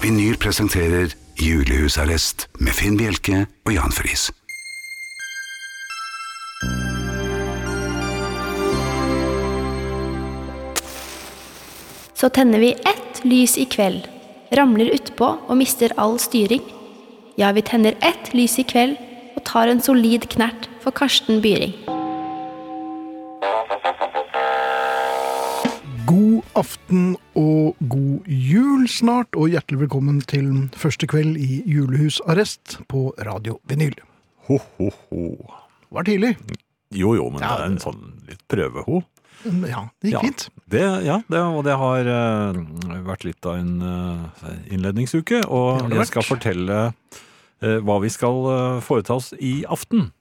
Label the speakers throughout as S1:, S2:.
S1: Vinyl presenterer Julehusarrest med Finn Bjelke og Jan Friis.
S2: Så tenner vi ett lys i kveld, ramler utpå og mister all styring. Ja, vi tenner ett lys i kveld og tar en solid knert for Karsten Byring.
S3: God aften og god jul snart, og hjertelig velkommen til første kveld i julehusarrest på Radio Vinyl.
S4: Ho, ho, ho.
S3: Det var tidlig.
S4: Jo, jo, men
S3: Ja.
S4: det er en sånn litt prøveho.
S3: men Ja, det gikk
S4: ja.
S3: fint.
S4: Det, ja, det, og det har eh, vært litt av en eh, innledningsuke.
S3: Det har
S4: Og
S3: det
S4: jeg skal
S3: vært.
S4: fortelle eh, hva vi skal eh, foreta oss i aften.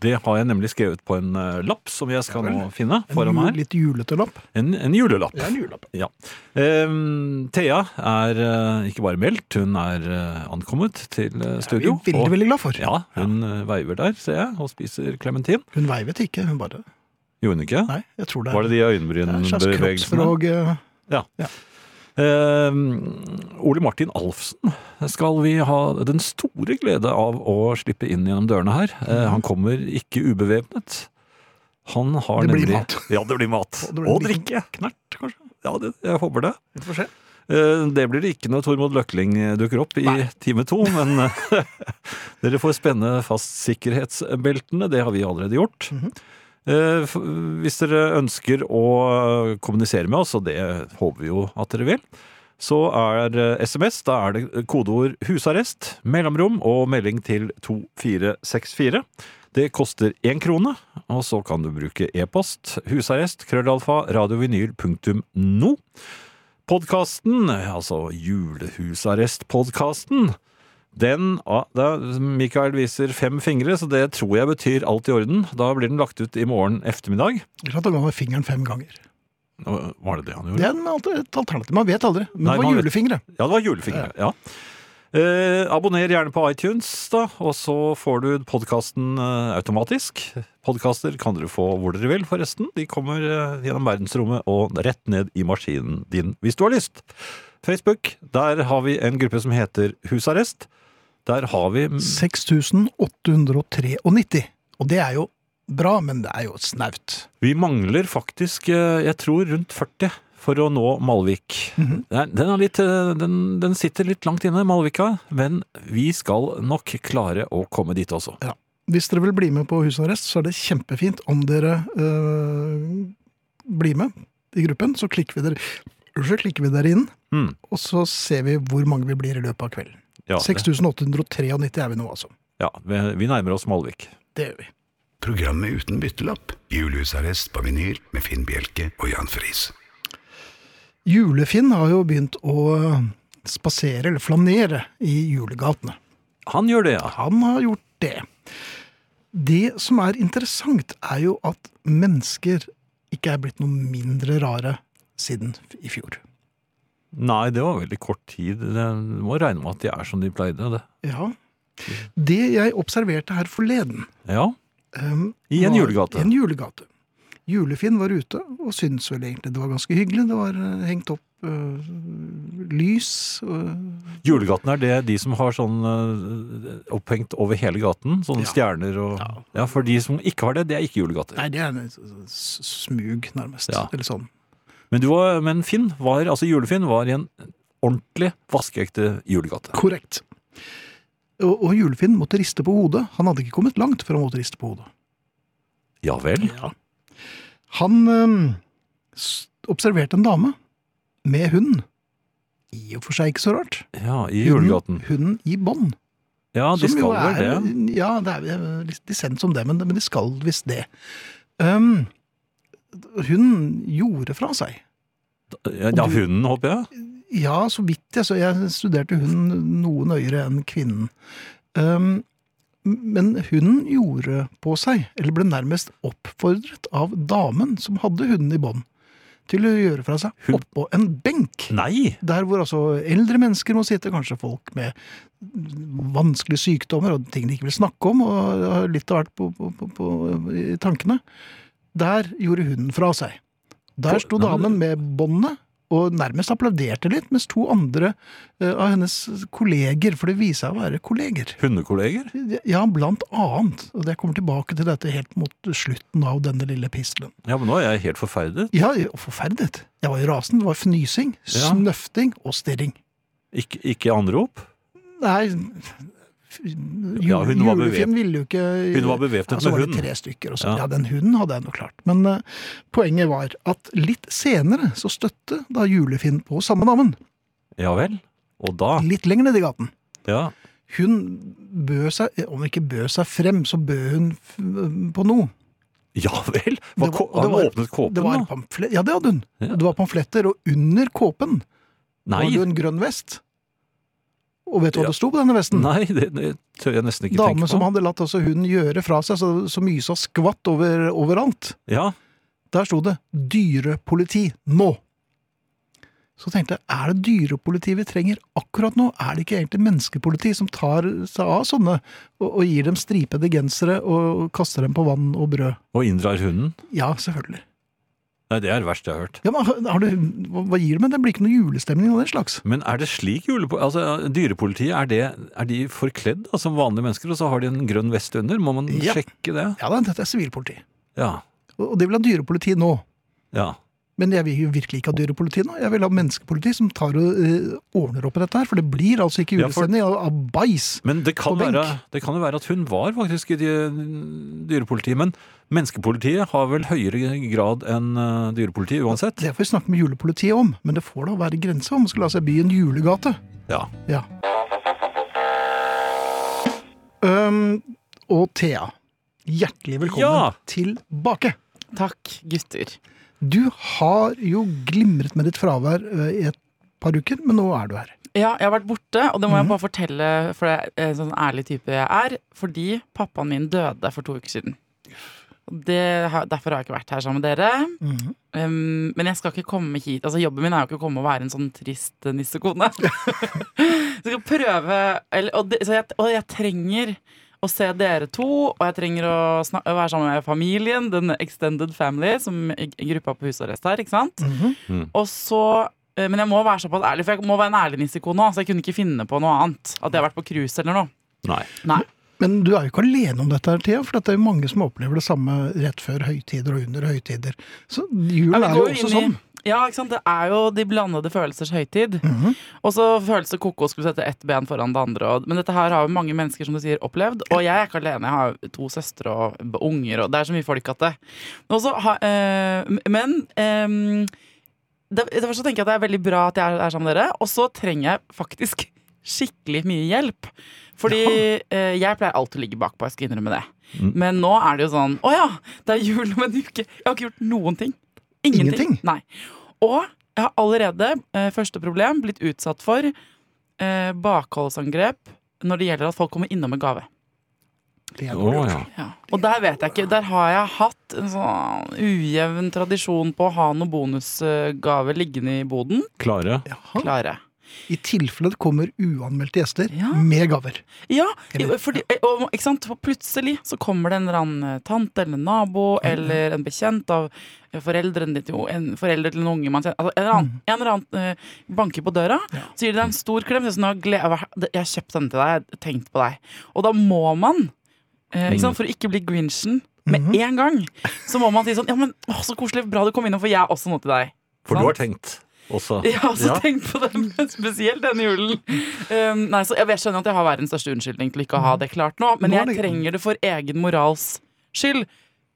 S4: Det har jeg nemlig skrevet på en eh, lapp som jeg skal
S3: Mhm. Ja vel.
S4: nå finne
S3: En
S4: foran
S3: jul-
S4: meg.
S3: Litt julete lapp.
S4: En, en julelapp.
S3: Det er en julelapp.
S4: Ja. Ehm, Thea er eh, ikke bare meldt, hun er eh, ankommet til eh,
S3: Det er vi
S4: studio.
S3: veldig,
S4: og,
S3: veldig glad for.
S4: Ja, hun eh, veiver der, ser jeg, og spiser klementin.
S3: Hun veivet ikke, hun bare
S4: Gjorde hun ikke?
S3: Nei, jeg tror det er
S4: Var det de
S3: det er en slags
S4: øyenbrynbevegelsene?
S3: kroppsspråk eh,
S4: Eh, Ole Martin Alfsen skal vi ha den store glede av å slippe inn gjennom dørene her. Eh,
S3: Mm.
S4: han kommer ikke ubevæpnet. Han har
S3: Det blir
S4: nemlig
S3: mat.
S4: Ja, det blir mat.
S3: Og det
S4: Og,
S3: blir en liten
S4: drikke.
S3: Knert, kanskje.
S4: Ja, det, jeg håper det.
S3: Vi får se.
S4: Eh, Det blir det ikke når Tormod Løkling dukker opp i
S3: Nei.
S4: time to, men eh, dere får spenne fast sikkerhetsbeltene. Det har vi allerede gjort. Eh, f- Hvis dere ønsker å eh, kommunisere med oss, og det håper vi jo at dere vil, så er eh, SMS, da er det kodeord 'husarrest', mellomrom og melding til 2464. Det koster én krone, og så kan du bruke e-post husarrest krøllalfa radiovinyl.no. Podkasten, altså Julehusarrest-podkasten, den ah, da, Mikael viser fem fingre, så det tror jeg betyr alt i orden. Da blir den lagt ut i morgen eftermiddag.
S3: Ikke sant, han ga meg fingeren fem ganger.
S4: Nå Var det det han
S3: Det
S4: gjorde?
S3: er en alt- et alternativ. Man vet aldri. Men
S4: Nei,
S3: det var
S4: man vet-
S3: julefingre.
S4: Ja, det var julefingre. ja. Eh, abonner gjerne på iTunes, da, og så får du podkasten eh, automatisk. Podkaster kan dere få hvor dere vil, forresten. De kommer eh, gjennom verdensrommet og rett ned i maskinen din hvis du har lyst. Facebook, der har vi en gruppe som heter Husarrest. Der har vi
S3: 6893. Og det er jo bra, men det er jo snaut.
S4: Vi mangler faktisk, eh, jeg tror, rundt 40 for å nå Malvik. Nei, den, er litt, eh, den, den sitter litt langt inne, Malvika, men vi skal nok klare å komme dit også.
S3: Hvis dere vil bli med på husarrest, så er det kjempefint om dere øh, blir med i gruppen. Så klikker vi dere, så klikker vi dere inn,
S4: Mm,
S3: og så ser vi hvor mange vi blir i løpet av kvelden.
S4: ja, det,
S3: 6893 er vi nå, altså.
S4: ja, vi vi nærmer oss Malvik.
S3: Det gjør vi.
S1: Programmet uten byttelapp. Julehusarrest på vinyl med Finn Bjelke og Jan Friis.
S3: Julefinn har jo begynt å spasere, eller flanere, i julegatene.
S4: Han gjør det, ja.
S3: Han har gjort det. Det som er interessant, er jo at mennesker ikke er blitt noe mindre rare siden i fjor.
S4: Nei, det var veldig kort tid. Det du må regne med at de er som de pleide. Det.
S3: Ja. Det jeg observerte her forleden
S4: Ja,
S3: ehm,
S4: I en
S3: var-
S4: julegate.
S3: I en julegate. Julefinn var ute og syntes vel egentlig det var ganske hyggelig. Det var eh, hengt opp eh, lys. eh,
S4: Julegaten er det de som har sånn eh, opphengt over hele gaten. Sånne stjerner og ja. for de som ikke har det, det er ikke julegater.
S3: nei, det er en s- s- smug, nærmest.
S4: Ja.
S3: Eller sånn.
S4: Men, du var, men Finn var, altså julefinn var i en ordentlig vaskeekte julegate.
S3: Korrekt. Og, og julefinn måtte riste på hodet. Han hadde ikke kommet langt før han måtte riste på hodet.
S4: Ja vel?
S3: Han øhm, s- observerte en dame med hund. I og for seg ikke så rart.
S4: Ja, i julegaten.
S3: Hunden, hunden i bånd.
S4: Ja, de
S3: Som
S4: skal
S3: jo
S4: vel
S3: er-
S4: det.
S3: Ja, det er eh, lis- dissens om det, men, men de skal visst det. Um, hun gjorde fra seg.
S4: Ja, hunden, håper jeg.
S3: Ja, så vidt jeg så. Jeg studerte hun noe nøyere enn kvinnen. Um, men hun gjorde på seg, eller ble nærmest oppfordret av damen som hadde hunden i bånd, til å gjøre fra seg
S4: Hun-
S3: oppå en benk.
S4: Nei!
S3: Der hvor altså eldre mennesker må sitte, kanskje folk med vanskelige sykdommer og ting de ikke vil snakke om, og har litt av hvert på, på, på, på, i tankene. Der gjorde hunden fra seg. Der
S4: For-
S3: sto
S4: Nei, men-
S3: damen med båndet og nærmest applauderte litt, mens to andre eh, av hennes kolleger, for det viser seg å være kolleger
S4: Hundekolleger?
S3: Ja, blant annet. Og jeg kommer tilbake til dette helt mot slutten av denne lille pistelen.
S4: Ja, men nå er jeg helt forferdet.
S3: Ja, og forferdet. Jeg var jo rasende. Det var fnysing,
S4: Ja.
S3: snøfting og stirring.
S4: Ikke, ikke anrop?
S3: Nei
S4: Ja,
S3: ja,
S4: hun var
S3: Julefilm
S4: bevep-
S3: ville jo ikke
S4: Hun var bevæpnet
S3: ja, så
S4: med
S3: var det
S4: hund.
S3: tre stykker. Og så.
S4: Ja.
S3: Ja. den hunden hadde jeg nå klart. Men eh, poenget var at litt senere så støtte da Julefinn på samme navn.
S4: Ja vel. Og da
S3: Litt lenger ned i gaten.
S4: Ja.
S3: Hun bød seg, eh, om hun ikke bød seg frem, så bød hun f eh, på noe.
S4: Ja vel! Hva,
S3: Det var-
S4: ko-
S3: det
S4: han
S3: var-
S4: åpnet kåpen,
S3: Det var
S4: da?
S3: pamflet, ja, det hadde hun.
S4: Ja.
S3: Det var pamfletter, og under kåpen
S4: Nei,
S3: var det en grønn vest. Og vet du hva
S4: Ja.
S3: det sto på denne vesten?
S4: nei det, det tør jeg nesten ikke
S3: Dame
S4: tenke
S3: som
S4: på.
S3: hadde latt altså hunden gjøre fra seg, så, så mysa skvatt over, overalt.
S4: Ja,
S3: Der sto det 'dyrepoliti nå'. Så tenkte jeg, er det dyrepoliti vi trenger akkurat nå? Er det ikke egentlig menneskepoliti som tar seg av sånne, og, og gir dem stripede gensere og kaster dem på vann og brød?
S4: Og inndrar hunden?
S3: Ja, selvfølgelig.
S4: Nei, det er det verste jeg har hørt.
S3: Ja, men har- har du, hva, hva gir det med? Det blir ikke noe julestemning av den slags.
S4: Men er det slik julepo... Altså, dyrepolitiet, er, det, er de forkledd da, som vanlige mennesker, og så har de en grønn vest under? Må man
S3: Ja.
S4: sjekke det?
S3: Ja da, dette er sivilpoliti.
S4: Ja.
S3: Og, og de vil ha dyrepoliti nå.
S4: ja.
S3: Men jeg vil jo virkelig ikke ha dyrepoliti nå. Jeg vil ha menneskepoliti som tar og eh, ordner opp i dette her. For det blir altså ikke
S4: Ja, for-
S3: julestemning av, av bæsj.
S4: Men det kan,
S3: På benk.
S4: være, det kan jo være at hun var faktisk i dy- dyrepolitiet. Men menneskepolitiet har vel høyere grad enn eh, dyrepolitiet uansett?
S3: Det får vi snakke med julepolitiet om, men det får da være grenser om man skal la seg by i en julegate.
S4: Ja.
S3: Ja. Øhm, og Thea, hjertelig velkommen
S4: Ja!
S3: tilbake.
S5: Takk, gutter.
S3: Du har jo glimret med ditt fravær øh, i et par uker, men nå er du her.
S5: Ja, jeg har vært borte, og det må jeg bare fortelle for jeg er en sånn ærlig type jeg er, fordi pappaen min døde for to uker siden. Og Det, har- derfor har jeg ikke vært her sammen med dere. Um, men jeg skal ikke komme hit Altså Jobben min er jo ikke å komme og være en sånn trist eh, nissekone. jeg skal prøve eller, og, det, så jeg, og jeg trenger å se dere to, og jeg trenger å snak, å være sammen med familien, den extended family, som i- i gruppa på husarrest her. ikke sant?
S3: Mhm.
S5: Og så eh, Men jeg må være såpass ærlig, for jeg må være en ærlig nissekone. også, Så jeg kunne ikke finne på noe annet. At jeg har vært på cruise eller noe.
S4: Nei.
S5: Nei.
S3: Men du er jo ikke alene om dette, her, Thea, for det er jo mange som opplever det samme rett før høytider og under høytider. Så
S5: Ja,
S3: julen
S5: vi
S3: er jo
S5: går jo
S3: også
S5: inn i-
S3: sånn.
S5: Ja, ikke sant? Det er jo de blandede følelsers høytid.
S3: Mhm.
S5: Og så føles det koko å skulle sette ett ben foran det andre. Og, men dette her har jo mange mennesker som du sier opplevd, og jeg er ikke alene. Jeg har jo to søstre og b- unger, og det er så mye folk at det og så har- eh, Men eh, det- Derfor så tenker jeg at det er veldig bra at jeg er, er sammen med dere, og så trenger jeg faktisk skikkelig mye hjelp. Fordi eh, jeg pleier alltid å ligge bakpå, jeg skal innrømme det.
S4: Mm.
S5: Men nå er det jo sånn Å ja, det er jul om en uke. Jeg har ikke gjort noen ting. Ingenting.
S3: Ingenting?
S5: Nei. Og jeg har allerede, eh, første problem, blitt utsatt for eh, bakholdsangrep når det gjelder at folk kommer innom med gave.
S3: Det er
S4: Å
S3: dårlig gjort.
S4: ja.
S5: Ja. Og der vet jeg ikke, der har jeg hatt en sånn ujevn tradisjon på å ha noen bonusgave liggende i boden.
S4: Klare.
S3: Jaha.
S5: Klare.
S3: I tilfelle det kommer uanmeldte gjester
S5: Ja.
S3: med gaver.
S5: Ja,
S3: Eller-
S5: fordi, og, ikke sant? For plutselig så kommer det en eller annen tante eller en nabo eller en bekjent av foreldrene ditt, jo, en forelder til en unge man kjenner, altså, en eller annen, en eller annen eh, banker på døra, så gir de deg en stor klem. sier Sånn, «Nå gle- jeg har- jeg har kjøpt denne til deg, jeg har tenkt på deg. Og da må man, eh, ikke sant? for å ikke bli grinchen med en gang, så må man si sånn Ja, men å, så koselig, bra du kom innom, for jeg har også noe til deg.
S4: For du
S5: Sant?
S4: har tenkt også.
S5: Jeg har også
S4: Ja.
S5: tenkt på det, men spesielt denne julen. Um, nei, så jeg, jeg skjønner at jeg har verdens største unnskyldning til ikke å ha det klart nå, men
S3: Mm. Nå er
S5: jeg
S3: det-
S5: trenger det for egen morals skyld.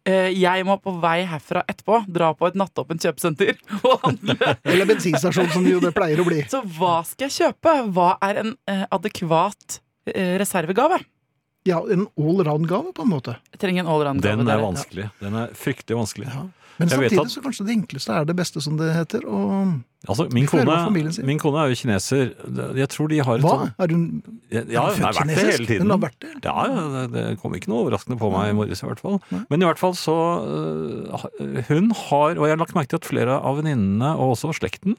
S5: Eh, jeg må på vei herfra etterpå dra på et nattåpent kjøpesenter og handle.
S3: Eller bensinstasjon, som det jo det pleier å bli.
S5: Så hva skal jeg kjøpe? Hva er en eh, adekvat eh, reservegave.
S3: Ja, en allround-gave, på en måte.
S5: Jeg trenger en allround-gave.
S4: Den er
S5: der.
S4: vanskelig. Den er fryktelig vanskelig.
S3: Ja. Men
S4: Jeg vet
S3: samtidig
S4: at-
S3: så kanskje det enkleste er det beste, som det heter. Og
S4: Altså, min,
S3: Vi får høre hva
S4: kone,
S3: familien sier.
S4: min kone er jo kineser. Jeg tror de har et
S3: hva?
S4: sånt-
S3: Er hun
S4: Ja, sånn? ja,
S3: er
S4: hun
S3: hun
S4: har
S3: født
S4: vært det hele
S3: kinesisk?
S4: tiden.
S3: Hun har vært det?
S4: Ja, ja, det, det kom ikke noe overraskende på meg i morges i hvert fall.
S3: Nei.
S4: Men i hvert fall så øh, ha- Hun har, og jeg har lagt merke til at flere av venninnene, og også slekten,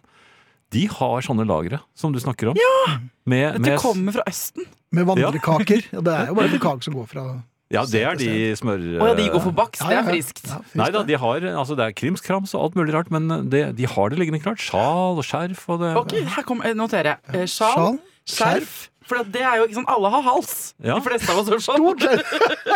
S4: de har sånne lagre som du snakker om. Ja! Med,
S5: Dette
S4: med,
S5: kommer fra Østen.
S3: Med vandrekaker. Ja, det er jo bare en kake som går fra
S4: ja, det er de smør...
S5: Å ja, de går for bakst.
S3: Ja,
S5: Det
S3: ja,
S5: er
S3: ja.
S5: friskt.
S3: Ja, friskt.
S4: Nei da, de har, altså det er krimskrams og alt mulig rart, men eh, det, de har det liggende klart. Sjal og skjerf og det
S5: Ok, her kom, eh, noterer jeg. Eh, Sjal,
S3: Sjal,
S5: skjerf. For at det er jo ikke sånn, Alle har hals.
S4: Ja.
S5: De fleste av oss har sjal.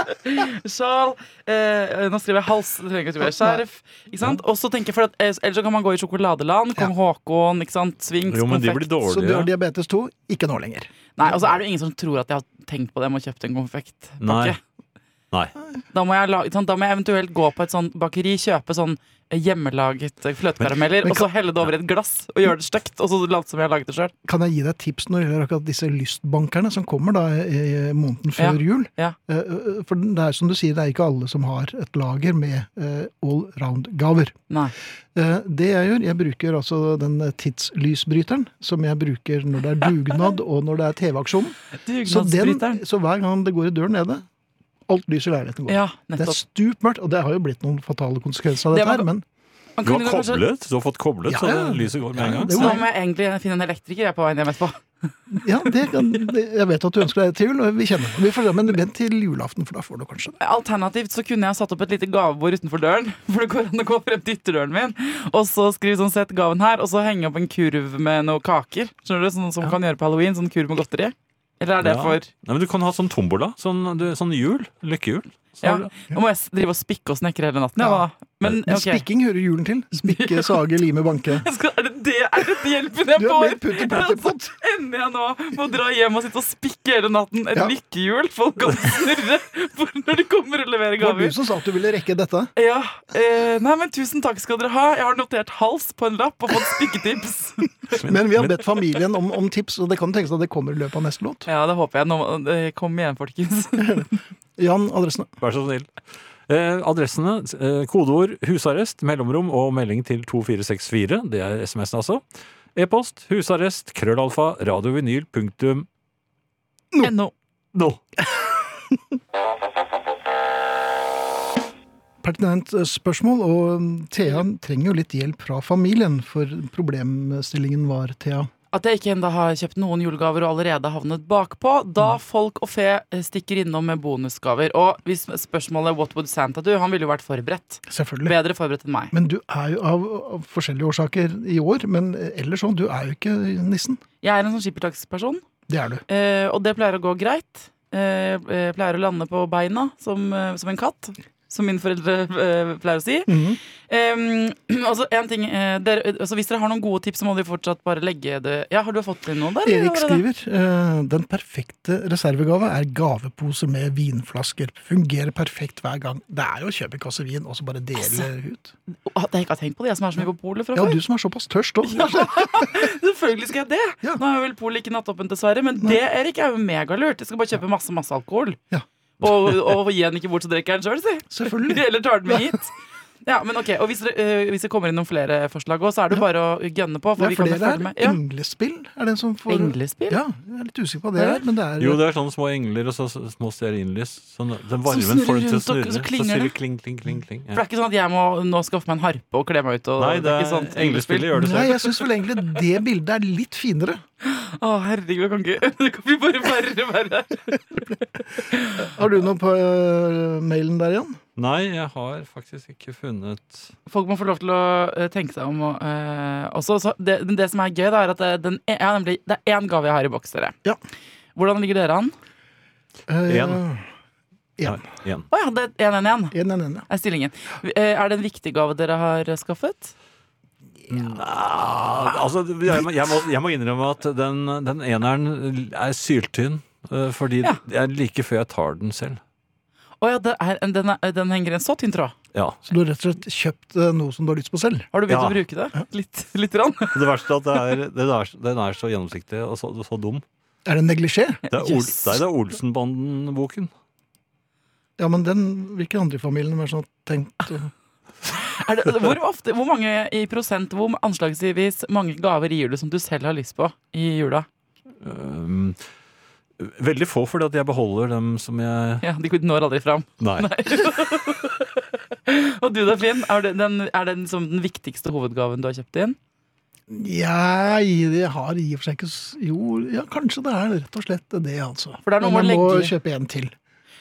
S5: sjal eh, Nå skriver jeg hals. Det trenger ikke å skrive skjerf. Ikke sant? Og så tenker jeg, for at, eh, Ellers så kan man gå i sjokoladeland. Kong Haakon, ikke sant? Swings,
S4: Jo, men de blir
S5: konfekt.
S3: Så du har
S4: dårlige.
S3: diabetes 2? Ikke nå lenger.
S5: Nei, Og så er det jo ingen som tror at jeg har tenkt på det med å kjøpe en
S4: Nei.
S5: konfektpakke.
S4: Nei.
S5: Da må, jeg la, ikke sant? da må jeg eventuelaget gå på et sånt bakeri, kjøpe sånn eh, hjemmelaget eh, fløtekarameller, og så helle det over i et glass og gjøre det stygt, og så late som jeg har laget det sjøl.
S3: Kan jeg gi deg et tips når det gjelder akkurat disse lystbankerne som kommer da eh, måneden før
S5: Ja,
S3: jul?
S5: ja.
S3: Eh, eh, For det er som du sier, det er ikke alle som har et lager med eh, allround-gaver.
S5: Nei.
S3: Eh, Det jeg gjør, jeg bruker altså den tidslysbryteren som jeg bruker når det er dugnad og når det er TV-aksjonen. Så, den,
S5: Dugnadsbryteren.
S3: så hver gang det går i døren nede, alt lys i leiligheten går.
S5: Ja,
S3: Det er
S5: nettopp.
S3: stup mørkt, og det har jo blitt noen fatale konsekvenser av
S5: Det
S3: dette
S5: var-
S3: her, men
S5: Man
S4: Du
S5: kunne
S4: har
S5: jo kanskje-
S4: koblet, du har fått koblet,
S3: Ja,
S4: så
S3: ja.
S4: det lyset går med en
S3: Ja,
S4: gang.
S3: det
S5: Så
S3: Jo,
S5: nå
S3: nei.
S5: må jeg egentlig finne en elektriker jeg er på veien hjem etterpå.
S3: ja, det kan, det, jeg vet at du ønsker deg det til jul, og vi kjenner det. Vi får se, Men vent til julaften, for da får du kanskje det.
S5: Alternativt så kunne jeg satt opp et lite gavebord utenfor døren. For det går an å gå frem til ytterdøren min, og så skrive sånn sett gaven her, og så henge opp en kurv med noen kaker. Skjønner du? Sånn som man kan gjøre på halloween. Sånn kurv med godteri. Eller er det
S4: Ja.
S5: for
S4: Nei, men du kan ha sånn tombola, sånn, du, sånn hjul, lykkehjul. Så
S5: Ja.
S4: har du-
S5: Nå må jeg s- drive og spikke og snekre hele natten, ja
S3: Ja.
S5: da. Men
S3: Men
S5: ok.
S3: Spikking hører julen til. Spikke, sage, lime, banke.
S5: Jeg skal- Er det det er det hjelpen jeg
S3: Du er
S5: får?
S3: blitt putti putti pott.
S5: Ender jeg nå med å dra hjem og sitte og spikke hele natten? Et
S3: Ja.
S5: lykkehjul folk kan snurre for når de kommer og leverer
S3: Det var
S5: gaver.
S3: du som sa at du ville rekke dette.
S5: Ja, eh, nei, men tusen takk skal dere ha. Jeg har notert hals på en lapp og fått spikketips.
S3: Men vi har bedt familien om, om tips, og det kan tenkes at det kommer i løpet av neste låt.
S5: ja, det håper jeg. Nå, eh, kom igjen, folkens.
S3: Jan, adressene.
S4: Vær så snill. Eh, adressene, eh, kodeord husarrest, mellomrom og melding til 2464. Det er SMS-en, altså. E-post husarrest krøllalfa radiovinyl punktum
S5: No.
S4: no.
S3: Pertinent eh, spørsmål, og mm, Thea trenger jo litt hjelp fra familien, for problemstillingen var, Thea
S5: At jeg ikke ennå har kjøpt noen julegaver og allerede havnet bakpå, da folk og fe eh, stikker innom med bonusgaver. Og hvis spørsmålet 'What would Santa do?' Han ville jo vært forberedt.
S3: Selvfølgelig.
S5: Bedre forberedt enn meg.
S3: Men du er jo av, av forskjellige årsaker i år, men eh, ellers sånn, du er jo ikke nissen.
S5: Jeg er en sånn skippertaksperson,
S3: Det er du.
S5: eh, og det pleier å gå greit. Eh, eh, pleier å lande på beina som, eh, som en katt, som mine foreldre eh, pleier å si.
S3: Mhm.
S5: Um, altså, en ting eh, dere, altså, Hvis dere har noen gode tips, så må dere fortsatt bare legge det Ja, Har du fått inn noen der? eller
S3: Erik
S5: var det det?
S3: skriver eh, den perfekte reservegave er gaveposer med vinflasker. Fungerer perfekt hver gang. Det er jo å kjøpe en kasse vin og så bare dele ut.
S5: Å, det, Jeg ikke har tenkt på det, jeg som er så mye på polet fra
S3: Ja,
S5: før.
S3: du som er såpass tørst òg.
S5: Selvfølgelig skal jeg det!
S3: Ja.
S5: Nå har vel polet ikke nattåpent, dessverre. Men det Erik, er jo megalurt. Jeg skal bare kjøpe masse masse alkohol.
S3: Ja.
S5: Og, og gi den ikke bort, så drikker jeg den sjøl, si.
S3: Selvfølgelig.
S5: Eller tar den med hit. Ja, men ok, og Hvis det, hvis det kommer inn noen flere forslag òg, så er det jo bare å gønne på.
S3: Det
S5: For
S3: er
S5: sånn vi kan jo
S3: flere
S5: følge
S3: her.
S5: med. Ja.
S3: Englespill er den som får
S5: Englespill?
S3: Ja, jeg er litt usikker på hva det
S5: Hva er
S3: er, men det er
S4: Jo, det er sånne små engler og så så små stearinlys. Sånn, den varmen
S5: snurrer
S4: får den til å
S5: rundt og-
S4: snurre.
S5: så klinger
S4: sier
S5: det.
S4: Kling, kling, kling, kling.
S5: For det
S4: Ja.
S5: er ikke sånn at jeg må nå skaffe meg en harpe og kle meg ut. Og,
S4: Nei, det
S5: ikke sånn
S4: er
S5: sånt
S4: englespillet gjør det
S3: Nei,
S4: selv.
S3: jeg syns vel egentlig det bildet er litt finere.
S5: Å, herregud, jeg kan ikke Det kan bli bare verre og verre.
S3: Har du noe på øh, mailen der igjen?
S4: Nei, jeg har faktisk ikke funnet
S5: Folk må få lov til å eh, tenke seg om. Og, eh, også, så det, men det som er gøy, da, er at det, den, jeg har nemlig, det er én gave jeg har i boks, dere.
S3: Ja.
S5: Hvordan ligger dere an?
S4: En.
S3: Eh, Ja.
S4: Nei, igjen.
S5: Å ja, det er 1-1-1.
S3: Én, én, én.
S5: Er stillingen. Eh, Er det en viktig gave dere har skaffet?
S4: Ah, altså, jeg, må- jeg, må, jeg må innrømme at den, den eneren er syltynn. eh, Fordi
S5: Ja.
S4: det er like før jeg tar den selv.
S5: Å ja, det er, den, er, den henger i en så tynn tråd.
S4: Ja.
S3: Så du har rett og slett kjøpt øh, noe som du har lyst på selv?
S5: Har du begynt
S4: Ja.
S5: å bruke det? Litt, litt rann.
S4: Det verste er at det er, den, er, den er så gjennomsiktig og så, så dum.
S3: Er det neglisjé?
S4: Det er, Ol
S5: Yes.
S4: Nei, det er Olsenbanden-boken.
S3: Ja, men den Hvilke andre i familien var det som har tenkt å-
S5: Er det, hvor, ofte, hvor mange i prosent, hvor anslagsvis mange gaver gir du som du selv har lyst på i jula?
S4: Um, veldig få, fordi at jeg beholder dem som jeg
S5: Ja, De når aldri fram.
S4: Nei.
S5: Og du da, Finn? Er det den, er det den, som den viktigste hovedgaven du har kjøpt inn?
S3: Nei, det har i og for seg ikke s- Jo, ja, kanskje det er rett og slett det, altså.
S5: For det er noe
S3: Men
S5: med
S3: jeg
S5: å
S3: må
S5: legge-
S3: kjøpe en til.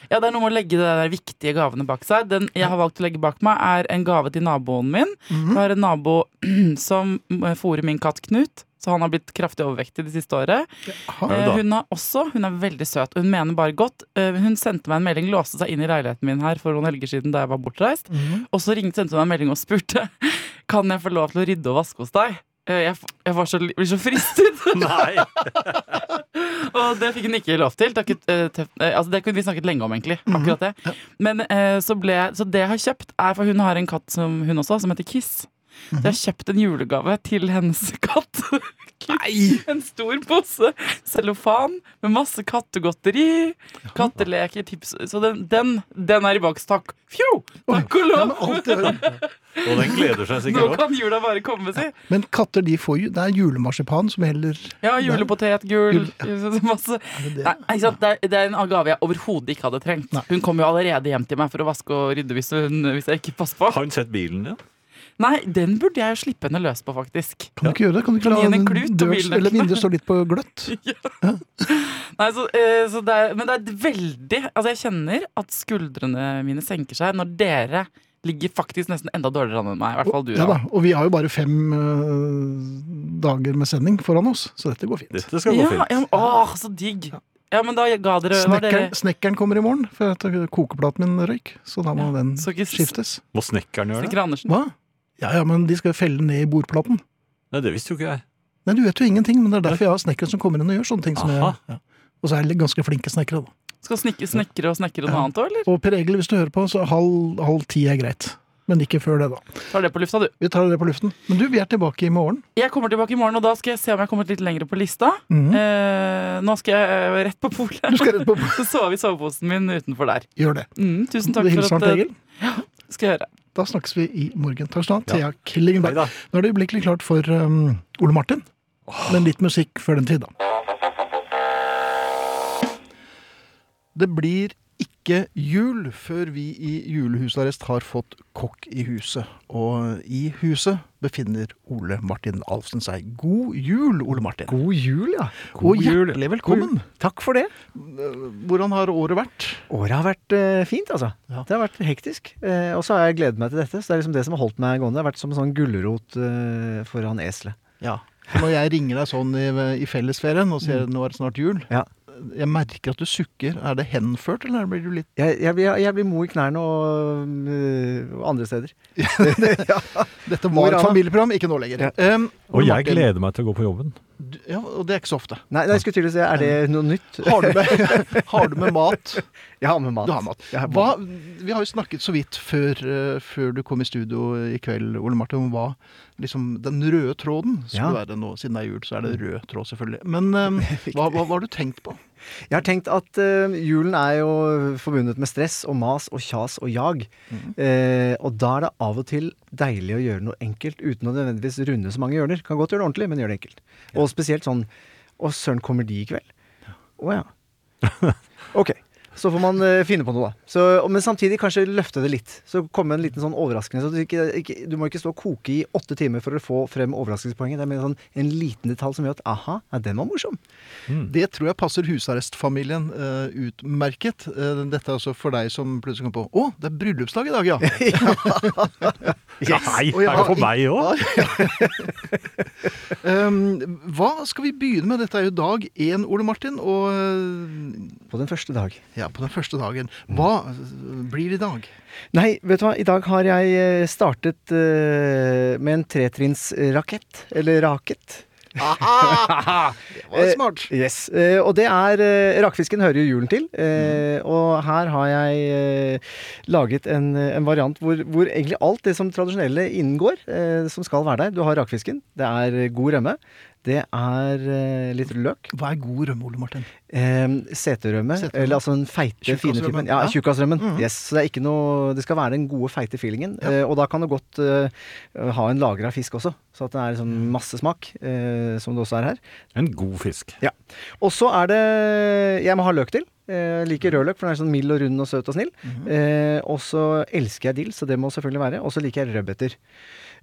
S5: Ja, Det er noe med å legge de der viktige gavene bak seg. Den jeg har valgt å legge bak meg, er en gave til naboen min.
S3: Mhm.
S5: Jeg har en nabo som eh, fôrer min katt Knut, så han har blitt kraftig overvektig det siste året.
S3: Aha.
S4: Ja,
S5: Eh,
S4: da.
S5: Hun er også, hun er veldig søt, og hun mener bare godt. Eh, Hun sendte meg en melding, låste seg inn i leiligheten min her for noen helger siden da jeg var bortreist.
S3: Mhm.
S5: Og så ringte, sendte hun meg en melding og spurte Kan jeg få lov til å rydde og vaske hos deg. Eh, Jeg, f- jeg var så, li- blir så fristet,
S4: Nei.
S5: og det fikk hun ikke lov til. Takket, eh, tef- eh, altså det kunne vi snakket lenge om, egentlig. akkurat det Men eh, så, ble, så det jeg har kjøpt, er for hun har en katt som hun også, som heter Kiss. Så jeg har kjøpt en julegave til hennes katt.
S3: Nei!
S5: En stor pose cellofan med masse kattegodteri, katteleker, tips Så den, den, den er i boks. Takk. Fjo! Takk og
S3: Ja, men,
S5: lov!
S3: alt det,
S4: Og den gleder seg
S5: Nå
S4: sikkert òg.
S5: kan jula bare komme, si.
S3: men katter, de får jo Det er julemarsipan som heller
S5: Ja, julepotetgull. Masse.
S3: Er det det?
S5: Nei, ikke sant? Det, er, det er en gave jeg overhodet ikke hadde trengt.
S3: Nei.
S5: Hun kom jo allerede hjem til meg for å vaske og rydde hvis, hun, hvis jeg ikke passer på.
S4: Har hun sett bilen din?
S5: Nei, den burde jeg jo slippe henne løs på, faktisk.
S3: Kan du ikke gjøre det? Kan du ikke
S5: Kan
S3: la
S5: gi henne en
S3: den
S5: klut og
S3: dør-
S5: bilnøklene?
S3: eller vinduet stå litt på gløtt?
S5: Nei, så, eh, så det er, men det er veldig Altså, jeg kjenner at skuldrene mine senker seg når dere ligger faktisk nesten enda dårligere an enn meg. I hvert fall du.
S3: Ja
S5: Jan.
S3: da, og vi har jo bare fem øh, dager med sending foran oss, så dette går fint.
S4: Dette skal gå
S5: Ja,
S4: fint.
S5: ja, men- åh, så digg. Ja, men da ga dere, var dere
S3: Snekkeren, snekkeren kommer i morgen, for at kokeplaten min røyk, så da må den
S5: så ikke s-
S3: skiftes.
S4: Må snekkeren gjøre det?
S5: Snekker Andersen.
S3: Hva? Ja ja, men de skal jo felle den ned i bordplaten.
S4: Nei, det visste jo ikke jeg.
S3: Nei, du vet jo ingenting, men det er derfor jeg har snekkere som kommer inn og gjør sånne ting som jeg
S4: Aha.
S3: ja. Og så er det ganske flinke snekkere, da.
S5: Skal snekke, snekre og snekre noe annet òg, eller?
S3: Og Per Egil, hvis du hører på, så halv, halv ti er greit. Men ikke før det, da.
S5: Tar det på lufta, du.
S3: Vi tar det på luften. Men du, vi er tilbake i morgen.
S5: Jeg kommer tilbake i morgen, og da skal jeg se om jeg har kommet litt lenger på lista.
S3: Mhm.
S5: Eh, nå skal jeg eh, rett på
S3: Du
S5: polet.
S3: skal rett på
S5: Så sover vi i soveposen min utenfor der.
S3: Gjør det.
S5: Mm, tusen
S3: Du
S5: takk
S3: hilser
S5: for
S3: han
S5: at
S3: Per
S5: eh,
S3: Egil.
S5: skal jeg gjøre.
S3: Da snakkes vi i morgen. Takk skal du ha, Thea
S4: Ja.
S3: Killingberg.
S4: Neida.
S3: Nå er det øyeblikkelig klart for um, Ole Martin, men litt musikk før den tid, da.
S6: Det blir ikke jul før vi i julehusarrest har fått kokk i huset. Og i huset befinner Ole Martin Alfsen seg. God jul, Ole Martin.
S3: God jul, ja.
S6: og
S7: jul.
S6: hjertelig velkommen.
S7: Takk for det.
S6: Hvordan har året vært?
S7: Året har vært eh, fint, altså. Det har vært hektisk. Eh, og så har jeg gledet meg til dette. Så det er liksom det som har holdt meg gående. Det har vært som en sånn gulrot eh, for han eselet.
S6: Ja. Når jeg ringer deg sånn i, i fellesferien og sier nå er det snart jul,
S7: Mm. Ja.
S6: jeg merker at du sukker. Er det henført, eller blir du litt
S7: Jeg, jeg, blir- jeg blir mo i knærne og eh, og andre steder.
S6: Dette
S7: Hvor
S6: var
S7: er
S6: et
S7: han?
S6: familieprogram, ikke nå lenger. Um,
S4: Og
S6: Ole
S4: jeg
S6: Martin,
S4: gleder meg til å gå på jobben.
S6: du- Ja, og det er ikke så ofte.
S7: Nei, nei, jeg skulle til å si, er det noe nytt?
S6: Har du med, har du med mat?
S7: Jeg har med mat.
S6: Du har mat.
S7: Jeg har
S6: Hva, vi har jo snakket så vidt før, eh, før du kom i studio i kveld, Ole Martin, om hva liksom, den røde tråden skulle
S7: Ja. Mm.
S6: være nå. Siden det er jul, så er det rød tråd, selvfølgelig. Men eh, hva, hva, hva har du tenkt på?
S7: Jeg har tenkt at eh, julen er jo forbundet med stress og mas og kjas og jag. Eh, og da er det av og til deilig å gjøre noe enkelt uten å nødvendigvis runde så mange hjørner. Kan godt gjøre det ordentlig, men gjør det enkelt. Og spesielt sånn Å, søren, kommer de i kveld? Å ja. Ok. Så får man eh, finne på noe, da. Så, og- men samtidig kanskje løfte det litt. Så komme en liten sånn overraskelse. Så du, ikke, ikke, du må ikke stå og koke i åtte timer for å få frem overraskelsespoenget. Det er mer sånn en liten detalj som gjør at aha, ja, den var morsom.
S6: Det tror jeg passer husarrestfamilien eh, utmerket. Eh, dette er også for deg som plutselig kom på Å, det er bryllupsdag i dag, ja!
S4: Nei,
S6: Og jeg
S4: er det
S6: har-
S4: for meg òg?
S6: Um, hva skal vi begynne med? Dette er jo dag én, Ole Martin. Og eh,
S7: På den første dag.
S6: ja, på den første dagen. Hva eh, blir det i dag?
S7: Nei, vet du hva? I dag har jeg eh, startet eh, med en tretrinnsrakett. Eller raket.
S6: Det var
S7: Eh,
S6: smart.
S7: Yes. eh, og det er eh, Rakfisken hører jo julen til.
S6: Mm.
S7: eh, Og her har jeg eh, laget en, eh, en variant hvor, hvor egentlig alt det som tradisjonelle inngår, eh, som skal være der. Du har rakfisken, det er god rømme, Det er eh, litt løk.
S3: Hva er god rømme, Ole Martin?
S7: Eh, seterømme.
S3: Seterømme.
S7: Eller altså den feite, fine
S3: Tjukkasrømmen.
S7: typen. Ja, Mm.
S3: Ja.
S7: tjukkasrømmen.
S3: Mhm.
S7: Yes, så det er ikke noe Det skal være den gode, feite feelingen. Eh, og da kan du godt eh, ha en lagra fisk også. Så at det er sånn masse smak, eh, som det også er her.
S4: En god fisk.
S7: Ja. Og så er det Jeg må ha løk til. Eh, Jeg liker rødløk, for den er sånn mild og rund og søt og snill. eh, og så elsker jeg dill, så det må selvfølgelig være. Og så liker jeg rødbeter.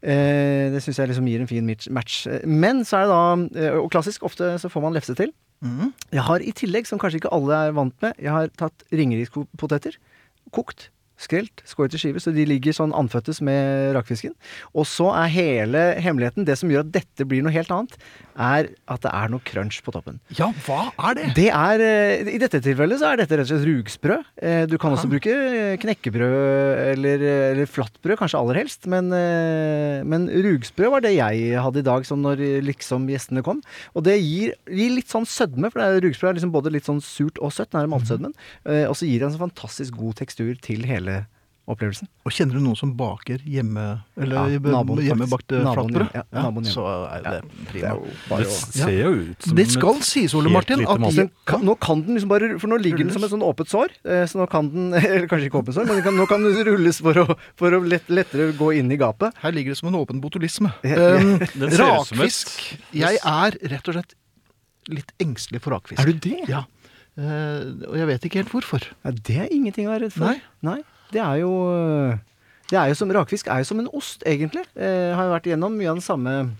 S7: Eh, det syns jeg liksom gir en fin mitch- match. Eh, Men så er det da eh, Og klassisk, ofte så får man lefse til. Jeg har i tillegg, som kanskje ikke alle er vant med, jeg har tatt ringerikpoteter. Kokt. Skrelt, skåret i skiver, så de ligger sånn anføttes med rakfisken. Og så er hele hemmeligheten, det som gjør at dette blir noe helt annet, er at det er noe crunch på toppen.
S3: Ja, hva er det?
S7: Det er, eh, I dette tilfellet så er dette rett og slett rugsprø. Eh, Du kan også bruke eh, knekkebrød eller, eh, eller flatbrød, kanskje aller helst. Men, eh, men rugsprø var det jeg hadde i dag, som når eh, liksom gjestene kom. Og det gir, gir litt sånn sødme, for det er, rugsprø er liksom både litt sånn surt og søtt. Den er maltsødmen. Eh, Og så gir det en sånn fantastisk god tekstur til hele opplevelsen.
S3: Og kjenner du noen som baker hjemme, eller
S7: Ja,
S3: be-
S7: naboen,
S3: hjemmebakte
S7: faktisk. Naboen
S3: flatbrød?
S7: hjemme. Ja, naboen hjemme.
S3: så er jo det prima.
S7: Det er jo bare å
S4: Det ser jo ut som
S3: Det skal sies, Ole
S4: helt
S3: Martin,
S4: lite
S3: at
S4: mat.
S3: i-
S7: Den kan, nå kan den liksom bare For nå ligger den
S3: Rulles.
S7: som et sånn åpent sår. eh, Så nå kan den Eller kanskje ikke åpent sår, men den kan, nå kan den rulles for å, for å lett, lettere gå inn i gapet.
S3: Her ligger det som en åpen botulisme.
S7: Ja.
S3: Um,
S4: Den ser ut som et-
S3: rakfisk. Jeg er rett og slett litt engstelig for rakfisk.
S7: Er du det?
S3: Ja. Eh, og jeg vet ikke helt hvorfor.
S7: Ja, det er ingenting å være redd for.
S3: Nei.
S7: Det er jo eh, Det er jo som Rakfisk er jo som en ost, egentlig. Eh, har jo vært igjennom mye av den samme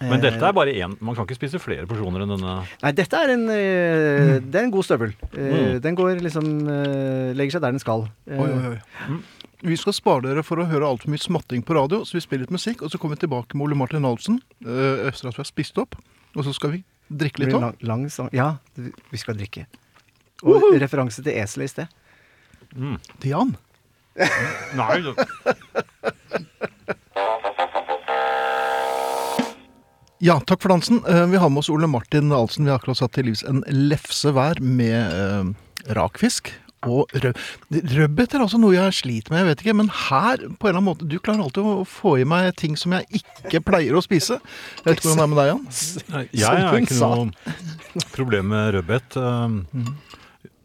S7: eh,
S4: Men dette er bare én. Man kan ikke spise flere porsjoner enn denne.
S7: Nei, dette er en, eh,
S3: Mm.
S7: det er en god støvel. Eh, Den går liksom eh, Legger seg der den skal. Eh,
S3: Oi, oi, oi. Mm. Vi skal spare dere for å høre altfor mye smatting på radio, så vi spiller litt musikk, og så kommer vi tilbake med Ole Martin Alfsen eh, etter at vi har spist opp. Og så skal vi drikke
S7: Det
S3: litt
S7: blir
S3: òg.
S7: en lang, lang sang. Ja, vi skal drikke. Og referanse til eselet i sted.
S3: Dian.
S4: Nei, det-
S3: Ja, takk for dansen. Eh, vi har med oss Ole Martin Alfsen. Vi har akkurat satt til livs en lefse hver med eh, rakfisk. Og rød... Rødbet er altså noe jeg sliter med, jeg vet ikke. Men her, på en eller annen måte Du klarer alltid å få i meg ting som jeg ikke pleier å spise. Jeg vet ikke hvordan det er med deg, Jan.
S4: Nei,
S3: Som
S4: jeg har
S3: hun
S4: ikke noe problem med rødbet. Um,